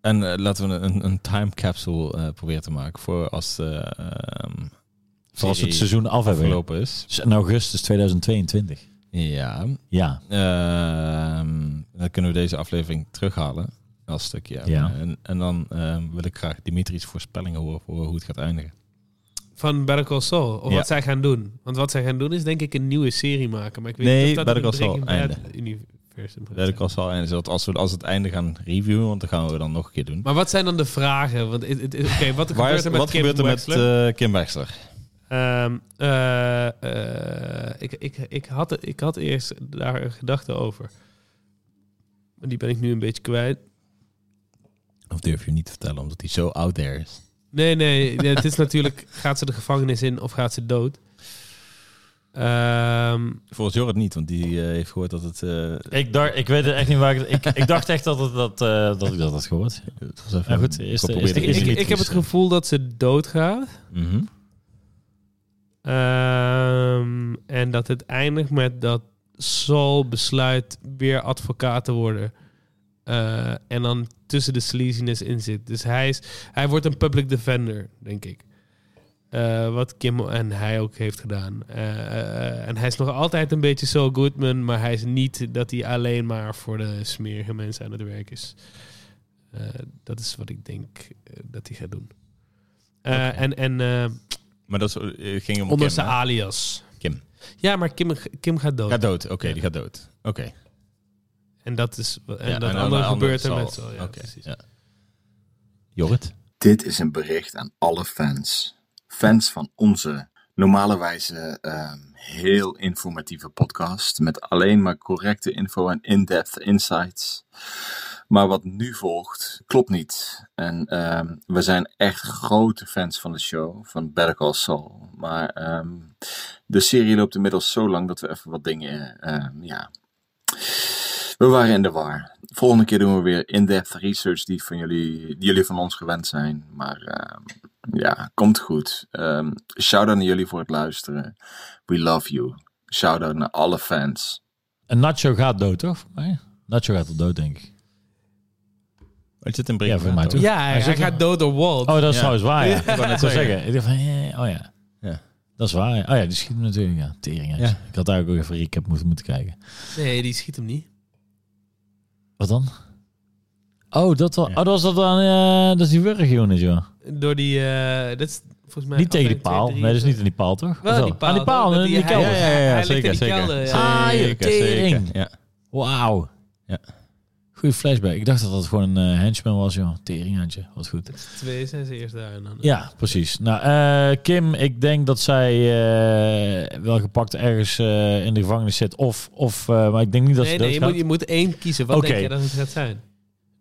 B: en eh, laten we een, een time capsule eh, proberen te maken voor als de ehm,
C: Voor als we het
B: serie
C: seizoen af hebben.
B: afgelopen is.
C: Dus in augustus 2022.
B: Ja.
C: Ja.
B: Ehm, dan kunnen we deze aflevering terughalen als stukje.
C: Ja.
B: En, en dan ehm, wil ik graag Dimitri's voorspellingen horen voor hoe het gaat eindigen.
A: Van Better Call Saul. Of
B: Ja.
A: wat zij gaan doen. Want wat zij gaan doen is denk ik een nieuwe serie maken. Maar ik weet
B: Nee,
A: niet of dat
B: Better
A: in
B: Call Saul,
A: Breaking Bad universum gaat
B: Dat ik
A: zijn.
B: al zal eindigen. zodat Als we als we het einde gaan reviewen, want dan gaan we dan nog een keer doen.
A: Maar wat zijn dan de vragen? Want het- het- oké, wat
B: Waar
A: gebeurt
B: is-
A: er met
B: wat
A: Kim
B: gebeurt er met
A: Wexler?
B: eh, Kim Wexler?
A: Ehm, eh, eh, ik, ik, ik, had, ik had eerst daar een gedachte over. Maar die ben ik nu een beetje kwijt.
B: Of durf je niet te vertellen, omdat hij zo out there is.
A: Nee, nee, het is natuurlijk... Gaat ze de gevangenis in of gaat ze dood? Ehm,
B: Volgens Jorrit niet, want die eh, heeft gehoord dat het... eh,
C: Ik, dacht, ik weet het echt niet waar ik... Ik, ik dacht echt dat, het, dat, eh, dat ik dat had gehoord.
B: het was even
C: Nou goed, eerst de-
B: geprobeerd
C: eerst de-
A: ik,
B: in
C: eerst de-
B: te
A: ik,
C: Dimitris.
A: heb het gevoel dat ze doodgaat.
B: Mhm.
A: Ehm en dat het eindigt met dat Saul besluit weer advocaat te worden. Eh, en dan tussen de sleaziness in zit. Dus hij, is, hij wordt een public defender, denk ik. Eh, wat Kim en hij ook heeft gedaan. Eh, eh, en hij is nog altijd een beetje Saul Goodman, maar hij is niet dat hij alleen maar voor de smerige mensen aan het werk is. Eh, dat is wat ik denk eh, dat hij gaat doen. Eh, En, en eh,
B: Maar dat is- eh, ging om
A: onder
B: Kim,
A: zijn
B: hè?
A: alias.
B: Kim.
A: Ja, maar Kim, Kim gaat dood.
B: Gaat dood, oké,
A: Ja.
B: die gaat dood. Oké.
A: En dat is en
B: Ja,
A: dat
B: en
A: andere
B: dan de
A: gebeurt er
B: zal-
A: met zo. Ja,
B: oké,
A: precies.
B: ja. Jorrit?
D: Dit is een bericht aan alle fans. Fans van onze normalerwijze ehm, heel informatieve podcast. Met alleen maar correcte info en in-depth insights. Maar wat nu volgt, klopt niet. En ehm, we zijn echt grote fans van de show, van Better Call Saul. Maar ehm, de serie loopt inmiddels zo lang dat we even wat dingen, ehm, ja... We waren in de war. Volgende keer doen we weer in-depth research die, van jullie, die jullie van ons gewend zijn. Maar ehm, ja, komt goed. Ehm shout-out naar jullie voor het luisteren. We love you. Shout-out naar alle fans.
C: En Nacho gaat dood, toch? Voor mij? Nacho gaat wel dood, denk ik.
B: Maar het zit een
C: Ja,
B: break.
C: voor mij toch?
A: Ja, hij,
C: Hij zit
A: hij gaat
C: er-
A: dood door Walt.
C: Oh, dat is
B: Ja.
C: trouwens waar, ja. Ik wou net
B: Ja.
C: zeggen. Ik dacht van, eh, oh ja.
B: Ja.
C: Dat is waar. ja. Oh ja, die schiet hem natuurlijk. Ja, tering.
B: Ja.
C: Ik had eigenlijk ook even recap moeten, moeten kijken.
A: Nee, die schiet hem niet.
C: Wat dan? Oh, dat, wel,
B: Ja.
C: oh, dat was dat dan, eh, dat is die wurgunit, joh.
A: Door die, eh, dat is volgens mij...
C: Niet tegen die
A: aflevering
C: paal.
A: twee,
C: Nee, dat is
A: drie,
C: niet in die paal, toch?
A: Wel
C: Of
A: aan
C: wel?
A: die paal.
C: Aan die paal,
A: Dat
C: in
A: die-
C: die
A: hij-
C: kelder.
A: ja, Hij ligt in die kelder, ja.
C: Ah, je tering.
B: Ja.
C: Wauw.
B: Ja.
C: Goeie flashback. Ik dacht dat dat gewoon een eh, henchman was, joh. Teringhandje. Wat goed.
A: Dat is twee, zijn ze eerst daar. En dan,
C: Ja, precies. Nou, eh, Kim, ik denk dat zij eh, wel gepakt ergens eh, in de gevangenis zit. Of, of eh, maar ik denk niet dat
A: nee,
C: ze
A: nee, je
C: doodgaat.
A: moet, je moet één kiezen. Wat
C: Oké.
A: denk je dat het gaat zijn?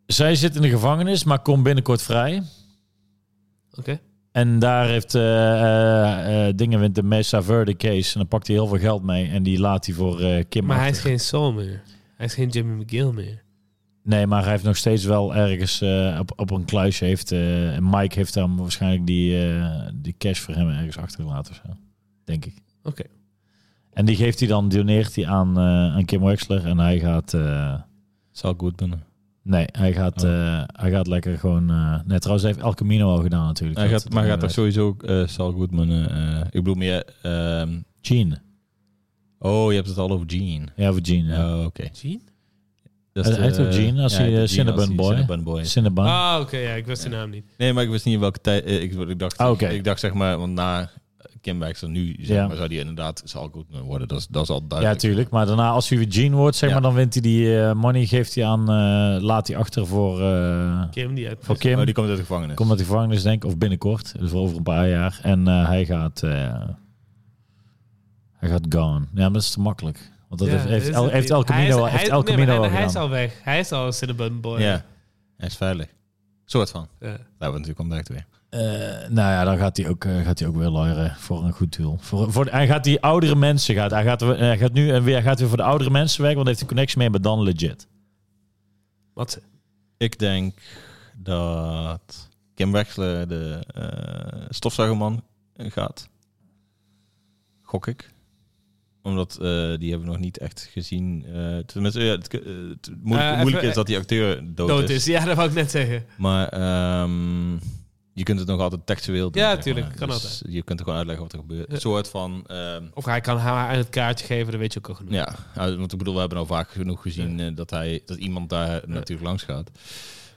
C: Zij zit in de gevangenis, maar komt binnenkort vrij.
A: Oké.
C: En daar heeft eh eh, eh, dingen wint de Mesa Verde case. En dan pakt hij heel veel geld mee. En die laat hij voor eh, Kim.
A: Maar hij is
C: achter.
A: geen Saul meer. Hij is geen Jimmy McGill meer.
C: Nee, maar hij heeft nog steeds wel ergens eh, op, op een kluis heeft. eh, en Mike heeft dan waarschijnlijk die, eh, die cash voor hem ergens achtergelaten of zo. Denk ik.
A: Oké.
C: En die geeft hij dan, doneert hij aan, eh, aan Kim Wexler. En hij gaat. eh,
B: Zal goed binnen.
C: nee, hij gaat,
B: Oh.
C: eh, hij gaat lekker gewoon. eh nee, trouwens, hij heeft El Camino al gedaan natuurlijk.
B: Hij
C: Dat-
B: gaat, maar hij gaat
C: dat-
B: toch sowieso eh Sal Goodman... eh, eh, ik bedoel meer... ehm,
C: Gene.
B: oh, je hebt het al over Gene.
C: Ja, voor Gene. Ja.
B: Oh, oké.
A: Gene?
B: Dat
C: Hij- hij
B: de-
C: heet ook Gene als hij,
B: heet
C: eh,
B: ook Gene als
C: Cinnabon
B: hij
C: Boy.
B: Cinnabon Boy is.
C: Cinnabon.
A: Ah, oké. ja, ik wist zijn naam niet.
B: Nee, maar ik wist niet in welke tijd... eh, ik, ik, dacht,
C: Ah, oké.
B: ik dacht zeg maar, want na Kim Baxter nu, zeg
C: Ja.
B: maar, zou die inderdaad Sal Goodman worden. Dat is, dat is al
C: ja,
B: duidelijk.
C: tuurlijk. Maar daarna, als hij weer Gene wordt, zeg
B: Ja.
C: maar, dan wint hij die eh, money. Geeft hij aan. eh, laat hij achter voor, eh,
A: Kim, die uit...
C: voor Kim.
B: Oh, die komt uit de gevangenis.
C: Komt uit de gevangenis, denk ik, of binnenkort. Dus over een paar jaar. En eh, hij gaat. eh, hij gaat gone. Ja, maar dat is te makkelijk. Want dat
A: Ja,
C: heeft, heeft,
A: is
C: El,
A: het
C: heeft
A: niet.
C: El
A: Hij is-
C: Camino,
A: hij-
C: heeft El
A: nee, maar
C: Camino al
A: hij, hij is
C: gedaan.
A: al weg. Hij is al een Cinnabon Boy.
B: Ja, hij is veilig. Soort van.
A: Ja.
B: Nou, want natuurlijk komt weer.
C: Eh, nou ja, dan gaat hij ook, eh, gaat hij ook weer luieren voor een goed doel. Voor, voor, hij gaat die oudere mensen. Gaat, hij, gaat, we- hij gaat nu en weer, hij gaat weer voor de oudere mensen werken, want hij heeft een connectie mee met Dan Legit.
A: Wat ze?
B: Ik denk dat Kim Wexler de eh, stofzuigerman gaat. Gok ik. Omdat eh, die hebben we nog niet echt gezien. Eh, tenminste, ja, het, eh, het moeilijk,
A: Eh,
B: moeilijk
A: even-
B: is dat die acteur dood,
A: Dood
B: is.
A: is. Ja, dat wou ik net zeggen.
B: Maar ehm, je kunt het nog altijd textueel doen.
A: Ja,
B: zeg
A: tuurlijk,
B: maar.
A: kan
B: Dus
A: altijd.
B: Je kunt er gewoon uitleggen wat er gebeurt.
A: Ja.
B: Een soort van... ehm,
A: Of hij kan haar het kaartje geven, dat weet je ook al genoeg.
B: Ja, nou, want ik bedoel, we hebben al vaak genoeg gezien eh, dat, hij, dat iemand daar natuurlijk langs gaat.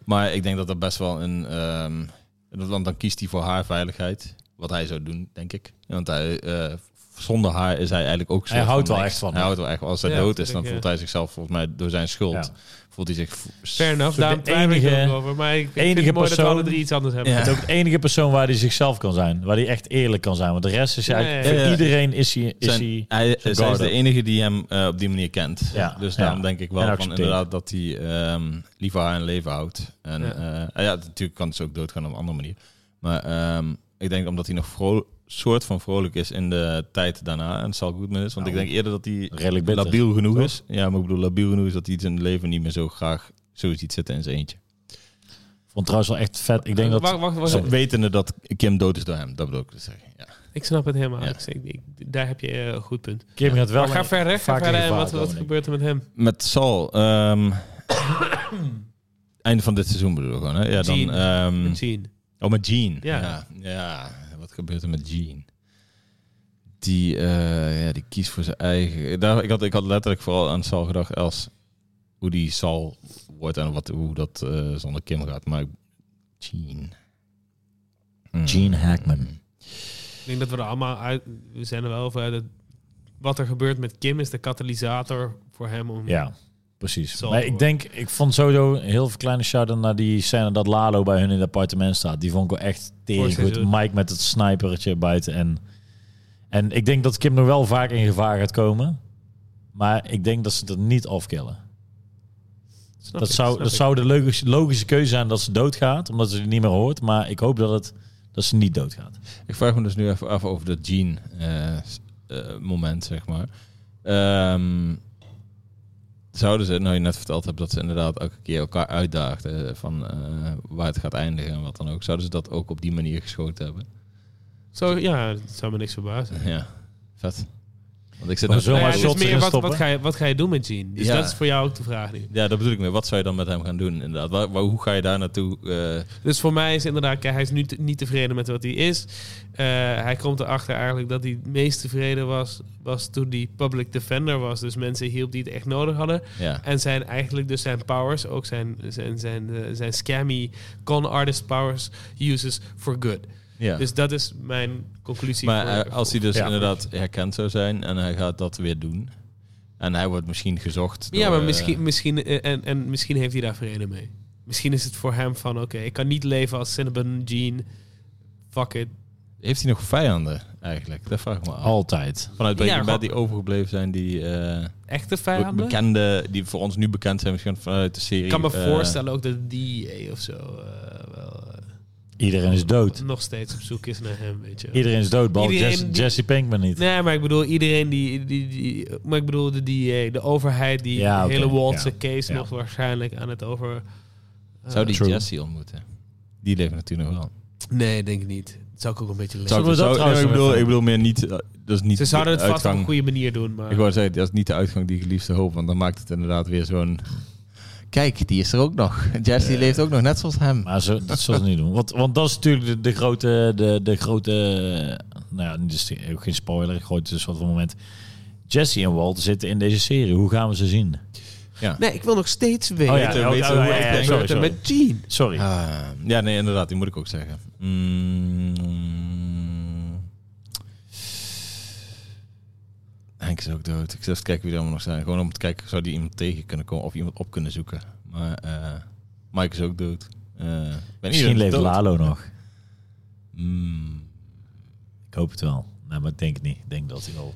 B: Maar ik denk dat dat best wel een... ehm, dat- want dan kiest hij voor haar veiligheid. Wat hij zou doen, denk ik. Want hij, eh, zonder haar is hij eigenlijk ook... een
C: Hij
B: soort
C: houdt wel
B: niks.
C: echt van
B: Hij
C: haar.
B: houdt wel echt van. Als hij
A: Ja,
B: dood
A: dat
B: is, dan
A: denk ik,
B: voelt
A: ja.
B: hij zichzelf volgens mij door zijn schuld.
C: Ja.
B: Voelt hij zich... v-
A: Fair enough,
C: de
A: daarom twijfel ik er
C: enige-
A: ook over. Maar ik, ik vind
C: enige
A: het mooi dat we alle
C: persoon-
A: drie iets anders hebben.
B: Ja.
C: Het is ook de enige persoon waar hij zichzelf kan zijn. Waar hij echt eerlijk kan zijn. Want de rest is hij
A: Ja, ja,
C: eigenlijk...
B: ja.
C: Voor iedereen is hij... Is
B: Zijn-
C: hij
B: hij,
C: zijn
B: zij is
C: garden.
B: de enige die hem eh, op die manier kent.
C: Ja,
B: Dus
C: ja.
B: daarom denk ik
C: En
B: wel van
C: accepteert.
B: inderdaad dat hij ehm liever haar in leven houdt. En
A: Ja.
B: ja. ja, natuurlijk kan ze ook doodgaan op een andere manier. Maar ehm, ik denk omdat hij nog vro- soort van vrolijk is in de tijd daarna. En het zal goed is. Want ik
C: Nou,
B: denk eerder dat hij
C: redelijk bitter.
B: labiel genoeg
C: toch?
B: is. Ja, maar ik bedoel labiel genoeg is dat hij het in het leven niet meer zo graag zo ziet zitten in zijn eentje.
C: Vond trouwens wel echt vet. Ik denk dat...
A: Eh, wacht, wacht, wacht.
B: Zo, wetende dat Kim dood is door hem. Dat bedoel ik te zeggen. Ja.
A: Ik Ik snap het helemaal.
B: Ja.
A: Ik, ik- ik- daar heb je eh, een goed punt.
C: Kim gaat wel
A: maar ga verder, ga
C: vaker
A: verder. En
C: gevaar
A: wat,
C: dan
A: wat
C: ik.
A: gebeurt er met hem?
B: Met Sal. ehm, einde van dit seizoen bedoel ik gewoon. Hè? Ja, dan,
A: Gene.
C: Hmm.
B: ehm,
A: Zien.
B: oh, met Jean.
A: Ja.
B: ja. Ja. Wat gebeurt er met Jean? Die, eh, ja, die kiest voor zijn eigen... Daar, ik, had, ik had letterlijk vooral aan Sal gedacht als hoe die Sal wordt en wat, hoe dat eh, zonder Kim gaat. Maar Jean. Hmm.
C: Gene Hackman.
A: Ik denk dat we er allemaal uit... We zijn er wel over uit dat wat er gebeurt met Kim is de katalysator voor hem om...
C: Ja, precies.
A: Zal
C: maar
A: wel.
C: ik denk, ik vond sowieso een heel veel kleine shout-out naar die scène dat Lalo bij hun in het appartement staat. Die vond ik wel echt tering
A: Voorzien,
C: goed.
A: zo.
C: Mike met het snipertje buiten. En, en ik denk dat Kim nog wel vaak in gevaar gaat komen. Maar ik denk dat ze dat niet afkillen.
A: Snap
C: Dat
A: ik,
C: zou,
A: snap
C: dat
A: ik.
C: zou de logische, logische keuze zijn dat ze doodgaat, omdat ze die niet meer hoort. Maar ik hoop dat, het, dat ze niet doodgaat.
B: Ik vraag me dus nu even af over dat Jean eh, s- eh, moment, zeg maar. Ehm, zouden ze, nou je net verteld hebt dat ze inderdaad elke keer elkaar uitdaagden van eh, waar het gaat eindigen en wat dan ook. Zouden ze dat ook op die manier geschoten hebben?
A: Zo, ja, dat zou me niks verbazen.
B: Ja, vet. Want ik zit
C: Maar
B: nou-
C: zo-
A: Nou
C: maar
A: ja, het is
C: shots
A: meer
C: erin
A: wat,
C: stoppen.
A: wat, ga je, wat ga je doen met Jean? Dus
B: Ja.
A: dat is voor jou ook de vraag nu.
B: Ja, dat bedoel ik meer. Wat zou je dan met hem gaan doen inderdaad? Waar, waar- hoe ga je daar naartoe? eh,
A: Dus voor mij is inderdaad, kijk, hij is nu te- niet tevreden met wat hij is. Eh, hij komt erachter eigenlijk dat hij het meest tevreden was, was toen hij public defender was. Dus mensen hielp die het echt nodig hadden.
B: ja.
A: En zijn eigenlijk dus zijn powers, ook zijn, zijn, zijn, eh, zijn scammy con artist powers, uses for good.
B: ja.
A: Dus dat is mijn conclusie.
B: Maar
A: voor-
B: eh, als hij dus
C: Ja.
B: inderdaad herkend zou zijn en hij gaat dat weer doen. En hij wordt misschien gezocht.
A: ja,
B: door,
A: maar
B: eh,
A: misschien, misschien, eh, en, en misschien heeft hij daar vrede mee. Misschien is het voor hem van, oké, ik kan niet leven als Cinnabon Jean. Fuck it.
B: Heeft hij nog vijanden eigenlijk? Dat vraag ik me af.
C: Altijd.
B: Vanuit Breaking
A: Ja,
B: Bad
A: gewoon-
B: die overgebleven zijn, die eh,
A: Echte
B: be-
A: vijanden?
B: bekende, die voor ons nu bekend zijn misschien vanuit de serie.
A: Ik kan me
B: eh,
A: voorstellen ook dat DEA of zo eh, wel, eh,
C: Iedereen is dood.
A: nog steeds op zoek is naar hem, weet je.
C: Iedereen is dood, behalve
A: Iedereen
C: Jesse,
A: die-
C: Jesse Pinkman niet.
A: Nee, maar ik bedoel iedereen die, die, die... Maar ik bedoel de DEA, de overheid die
C: Ja,
A: de
C: oké,
A: hele Waltse
C: ja,
A: case
C: ja.
A: nog waarschijnlijk aan het over... eh,
B: Zou die
C: True.
B: Jesse ontmoeten? Die leven natuurlijk nog wel.
A: Nee, denk ik niet. Dat zou ik ook een beetje leuk
C: Zou- we dat
B: zou-
C: trouwens
B: nee, ik,
C: nog
B: bedoel,
C: even-
B: ik bedoel meer niet, eh, dat is niet
A: Ze zouden het
B: de
A: vast op
B: uitgang.
A: een goede manier doen, maar...
B: Ik wou zeggen, dat is niet de uitgang die ik het liefste hoop, want dan maakt het inderdaad weer zo'n... Kijk, die is er ook nog. Jesse die leeft ook nog, net zoals hem.
C: Maar ze, dat zullen ze niet doen. Want, want dat is natuurlijk de, de grote... De, de grote eh, nou ja, dit is de- ook geen spoiler. Ik gooi het dus wat voor moment. Jesse en Walt zitten in deze serie. Hoe gaan we ze zien?
A: Nee, ik wil nog steeds weten.
C: Oh ja,
B: weten-
C: oh,
B: weten
C: oh,
B: hoe
C: ja,
B: het
C: ja,
B: ging.
C: sorry,
A: Gebeurt er
C: sorry.
A: met Jean.
C: Sorry.
B: Ah, ja, nee, inderdaad, die moet ik ook zeggen. Mm. Henk is ook dood. Ik zit even te kijken wie er allemaal nog zijn. Gewoon om te kijken, zou die iemand tegen kunnen komen of iemand op kunnen zoeken. Maar eh Mike is ook dood. Eh, ben
C: Misschien
B: iedereen
C: leeft
B: dood?
C: Lalo nog.
B: Mm.
C: Ik hoop het wel. Nee, maar ik denk het niet. Ik denk dat hij wel...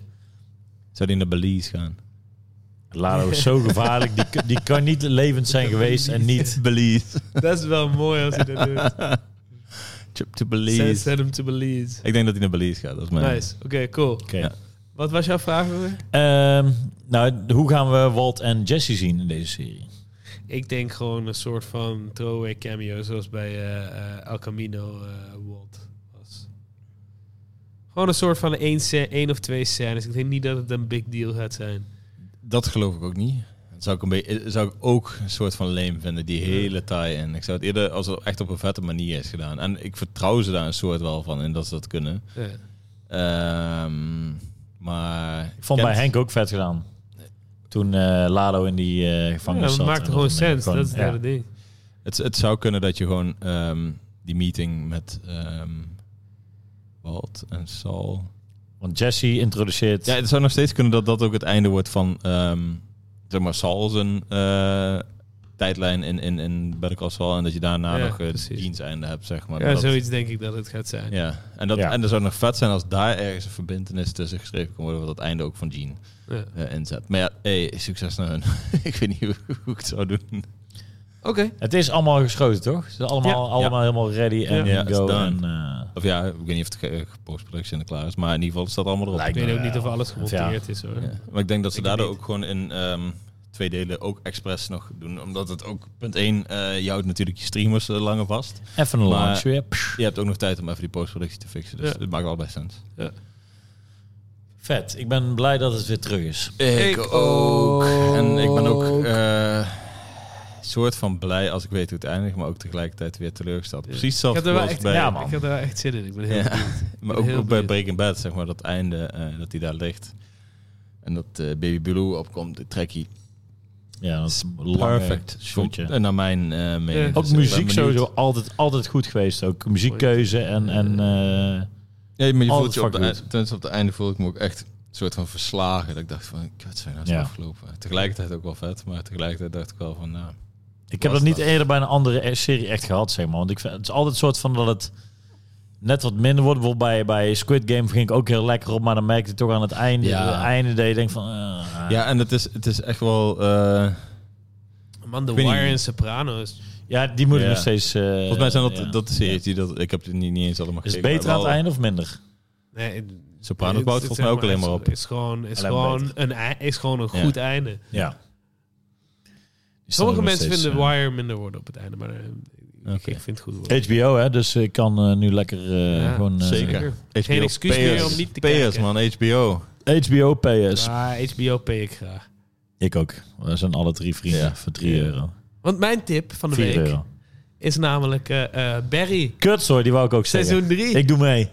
B: Zou die naar Belize gaan?
C: Lalo is zo gevaarlijk. Die, k- die kan niet levend zijn geweest en niet...
B: Belize.
A: Dat is wel mooi als hij dat doet.
B: Trip to
A: Send,
B: Belize.
A: send him to Belize.
B: Ik denk dat hij naar Belize gaat. Dat is mijn...
A: Nice. Oké, cool.
C: Oké.
B: Ja.
A: Wat was jouw vraag? Ruben?
C: Ehm, nou, hoe gaan we Walt en Jesse zien in deze serie?
A: Ik denk gewoon een soort van throwaway cameo, zoals bij eh, eh, El Camino eh Walt was. Gewoon een soort van één, sce- één of twee scènes. Ik denk niet dat het een big deal gaat zijn.
B: Dat geloof ik ook niet. Dat zou ik, een beetje, zou ik ook een soort van leem vinden, die hele tie-in. Ik zou het eerder als het echt op een vette manier is gedaan. En ik vertrouw ze daar een soort wel van in dat ze dat kunnen.
A: Ja.
B: Ehm, maar...
C: Ik vond bij Henk ook vet gedaan. Toen eh, Lalo in die eh
A: Ja,
C: gevangenis
A: dat
C: zat.
A: maakt
C: En
A: gewoon
C: dat-
A: sens. Dat is het
C: ja.
A: hele ding.
B: Het, het zou kunnen dat je gewoon ehm, die meeting met ehm, Walt en Sal...
C: Want Jesse introduceert...
B: Ja, het zou nog steeds kunnen dat dat ook het einde wordt van... ehm, zeg maar, Sal zijn eh, tijdlijn in, in, in Better Call Saul. En dat je daarna
A: Ja,
B: nog het
A: precies.
B: diensteinde hebt, zeg maar.
A: Ja,
B: Maar dat-
A: zoiets denk ik dat het gaat zijn.
B: Ja, en dat,
C: Ja.
B: en dat zou nog vet zijn als daar ergens een verbindenis tussen geschreven kan worden, wat het einde ook van Jean
A: Ja.
B: eh, inzet. Maar ja, hey, succes naar hun. ik weet niet hoe, hoe ik het zou doen.
A: Oké.
C: Het is allemaal geschoten, toch? Het is allemaal, allemaal helemaal ready en
B: Ja, it's
C: go.
B: done.
C: En, eh,
B: Of ja, ik weet niet of het ge- ge- postproductie in klaar is, maar in ieder geval staat allemaal erop.
C: Lijkt
A: Ik
C: me
A: weet ook
C: wel.
A: niet of alles
C: Ja.
A: gemonteerd is hoor.
B: Ja. Maar ik denk dat ze
A: Ik
B: daardoor
A: niet.
B: ook gewoon in ehm, twee delen ook expres nog doen. Omdat het ook, punt 1, eh je houdt natuurlijk je streamers eh, langer vast.
C: Even een
B: Maar-
C: launch weer. Pff,
B: Je hebt ook nog tijd om even die postproductie te fixen. Dus
A: Ja.
B: dat maakt wel best sens.
C: Vet. Ik ben blij dat het weer terug is.
A: Ik ook.
B: En ik ben ook eh soort van blij als ik weet hoe het eindigt, maar ook tegelijkertijd weer teleurgesteld. Precies
A: Ik
B: hetzelfde
A: heb, er wel
B: als
A: echt,
B: bij...
A: ja, man. ik heb er wel echt zin in. Ik ben heel
B: Ja.
A: benieuwd.
B: Maar
A: ben
B: ook,
A: heel
B: ook bij
A: benieuwd.
B: Breaking Bad, zeg maar, dat einde, eh, dat hij daar ligt. En dat eh, Baby Blue opkomt, de trekkie.
C: Ja, dat is een lange
B: Perfect
C: shotje.
B: En naar mijn eh, mening.
A: Ja.
C: Ook
B: Dus ik ben
C: muziek
B: benieuwd.
C: sowieso altijd, altijd goed geweest. Ook muziekkeuze en... en eh,
B: Ja, maar je voelt
C: Altijd
B: je op de,
C: fucking
B: eind- tenminste, op het einde voelde ik me ook echt een soort van verslagen. Dat ik dacht van, kut, zijn nou zo
C: Ja.
B: afgelopen. Tegelijkertijd ook wel vet, maar tegelijkertijd dacht ik wel van, nou...
C: ik heb
B: Was
C: dat niet
B: dat.
C: eerder bij een andere eh, serie echt gehad, zeg maar. Want ik vind, het is altijd een soort van dat het net wat minder wordt. Bijvoorbeeld bij, bij Squid Game ging ik ook heel lekker op. Maar dan merkte ik toch aan het einde,
B: Ja.
C: het einde dat je denkt van... eh,
B: Ja, en het is, het is echt wel... eh,
A: Man, The
B: Ik weet
A: Wire
B: niet.
A: en Sopranos.
C: ja, die moet ik
B: Ja.
C: nog steeds... eh,
B: Volgens mij zijn dat,
C: ja.
B: dat de series die dat... Ik heb het niet, niet eens allemaal
C: Is het
B: gekeken, maar
C: beter aan het
B: wel-
C: einde of minder?
A: Nee, het-
B: Sopranos
A: het-
B: bouwt
A: het
B: volgens mij
A: zeg
B: ook alleen maar op.
A: is- Is gewoon, is
C: Alleen
A: gewoon, een, ei- is gewoon een
B: Ja.
A: goed einde.
C: Ja.
A: Sommige mensen vinden
C: eh,
A: The Wire minder worden op het einde, maar eh, ik-
B: Oké.
A: ik vind het goed worden.
C: HBO, hè, dus ik kan eh, nu lekker eh,
A: Ja,
C: gewoon... eh,
B: zeker.
A: Geen
B: HBO
A: excuus meer om niet te
B: PS,
A: kijken.
B: man, HBO.
C: HBO PS.
A: Ah, HBO pay ik graag.
C: Ik ook. We zijn alle drie vrienden
B: Ja.
C: voor 3 euro.
A: Want mijn tip van de
C: 4
A: week
C: euro.
A: is namelijk eh, eh, Barry.
C: Kut, sorry, die wou ik ook zeggen.
A: Seizoen 3
C: Ik doe mee.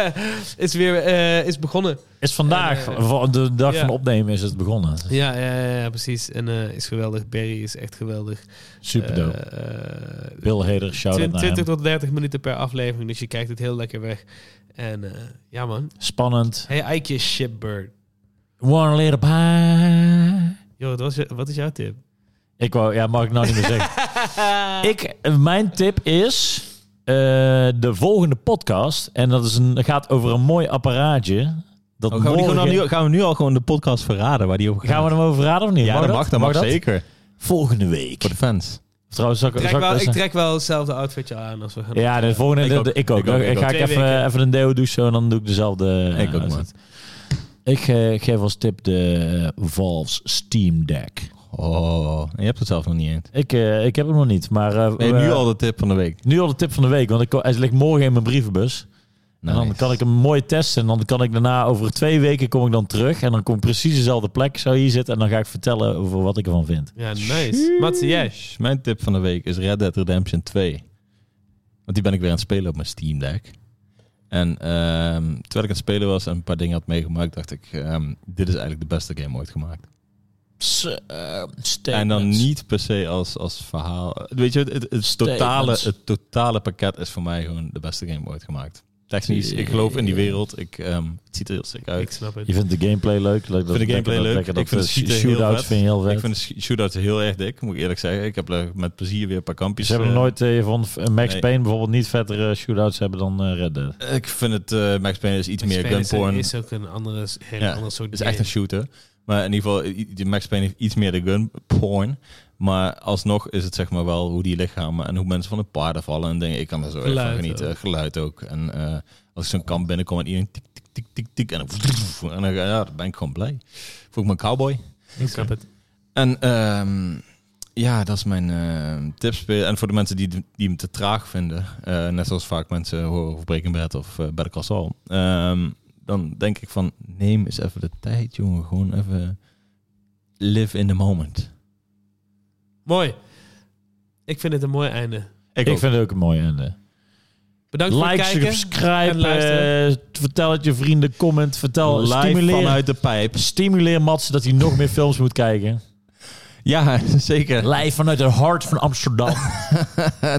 A: is weer eh, is begonnen.
C: Is vandaag,
A: En, eh,
C: van de dag
A: ja.
C: van opnemen is het begonnen.
A: Ja, ja, ja, ja, precies. En eh, is geweldig. Barry is echt geweldig.
C: Super dope.
A: Eh, eh,
C: Bill Hader, shout-out
B: nou
C: naar
A: 20,
C: hem.
A: tot 30 minuten per aflevering, dus je kijkt het heel lekker weg. En eh, ja man.
C: Spannend.
A: Hey Eikje Shipbird.
C: One little pie.
A: Joh, wat, was je- wat is jouw tip?
C: Ik wou, ja, mag ik nou niet meer zeggen. ik, mijn tip is eh, de volgende podcast. En dat is een, gaat over een mooi apparaatje. Dat
B: Oh, gaan, we die gewoon
C: morgen-
B: al nu, gaan we nu al gewoon de podcast verraden waar die over gaat?
C: Gaan we hem over raden of niet?
B: ja, dat mag, dat mag, zeker.
C: Volgende week.
B: Voor de fans.
C: Trouwens, zal ik,
A: Ik
C: zal
A: trek,
C: ik-
A: wel, ik trek wel hetzelfde outfitje aan als we gaan.
C: Ja, de volgende
B: Ik
C: de-
B: ook.
C: de- ik ook.
B: Ik ook, ik
C: Dan ga
B: ook.
C: ik
A: Twee
C: even,
A: weken.
C: even een deo douchen en dan doe ik dezelfde. eh,
B: Ik ook, man.
C: uitzet. Ik eh, geef als tip de eh, Valve's Steam Deck.
B: Oh, en je hebt het zelf nog niet eens.
C: Ik, eh, ik heb hem nog niet, maar... eh,
B: Nee,
C: we-
B: nu al de tip van de week.
C: nu al de tip van de week, want ik, hij ligt morgen in mijn brievenbus. En dan
B: Nice.
C: kan ik hem mooi testen. En dan kan ik daarna over twee weken kom ik dan terug. En dan kom ik precies dezelfde plek zo hier zitten. En dan ga ik vertellen over wat ik ervan vind.
A: Ja, nice. Mats, jij?
B: Sheesh. Mijn tip van de week is Red Dead Redemption 2. Want die ben ik weer aan het spelen op mijn Steam Deck. En ehm, terwijl ik aan het spelen was en een paar dingen had meegemaakt, dacht ik, ehm, dit is eigenlijk de beste game ooit gemaakt.
C: Pss, eh,
B: En dan
C: statements.
B: niet per se als, als verhaal. Weet je, het, het, het totale,
C: Statements.
B: het totale pakket is voor mij gewoon de beste game ooit gemaakt. Technisch, ik geloof in die wereld. Ik, ehm, het ziet er heel sick uit.
A: Ik snap het.
C: Je vindt de gameplay leuk. leuk
B: Ik vind de gameplay leuk. Ik vind de
C: de
B: schieten heel
C: eh, shootouts
B: vet.
C: vind je heel vet.
B: Ik vind de sh- shootouts heel erg dik, moet ik eerlijk zeggen. Ik heb er met plezier weer een paar kampjes.
C: Ze hebben
B: eh,
C: nooit eh, van eh, Max
B: nee.
C: Payne bijvoorbeeld niet vettere shootouts hebben dan eh, Red Dead.
B: Ik vind het, eh, Max Payne is iets
A: Max
B: meer
A: Payne is-
B: gunporn.
A: Is ook een andere, heel
B: Ja,
A: ander soort
B: Het is echt een
A: game.
B: shooter. Maar in ieder geval, i- i- Max Payne heeft iets meer de gun porn. Maar alsnog is het zeg maar wel hoe die lichamen en hoe mensen van de paarden vallen en dingen. Ik kan daar zo echt van
A: Geluid
B: genieten.
A: ook.
B: Geluid ook. En eh, als ik zo'n kamp binnenkom en iedereen tik, tik, tik, tik, tik. En dan, en dan, ja, dan ben ik gewoon blij. Voel ik me een cowboy.
A: Ik snap het.
B: En ehm, ja, dat is mijn ehm, tips. En voor de mensen die, die hem te traag vinden, eh, net zoals vaak mensen horen over Breaking Bad of eh Better Call Saul, ehm, dan denk ik van neem eens even de tijd, jongen. Gewoon even live in the moment.
A: Mooi. Ik vind het een mooi einde.
C: Ik, vind het ook een mooi einde.
A: Bedankt
C: Like,
A: voor het kijken. en
C: subscribe,
A: luisteren.
C: eh, vertel het je vrienden, comment, vertel,
B: live
C: stimuleer,
B: vanuit de pijp.
C: stimuleer Mats dat hij nog meer films moet kijken.
B: Ja, zeker.
C: Live vanuit het hart van Amsterdam,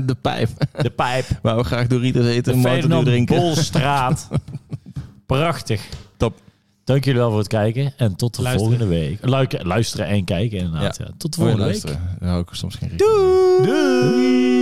B: de pijp.
C: de pijp,
B: Waar we graag Doritos eten
C: de
B: en Mountain Dew
C: Ferdinand
B: drinken.
C: Bolstraat. Prachtig.
B: Top.
C: Dank jullie wel voor het kijken en tot de
A: Luisteren.
C: volgende week. Luik- luisteren en kijken inderdaad.
B: Ja.
C: Ja. Tot de
B: Voor
C: volgende week.
B: luisteren. Daar hou ik soms geen rekening mee.
C: Doei.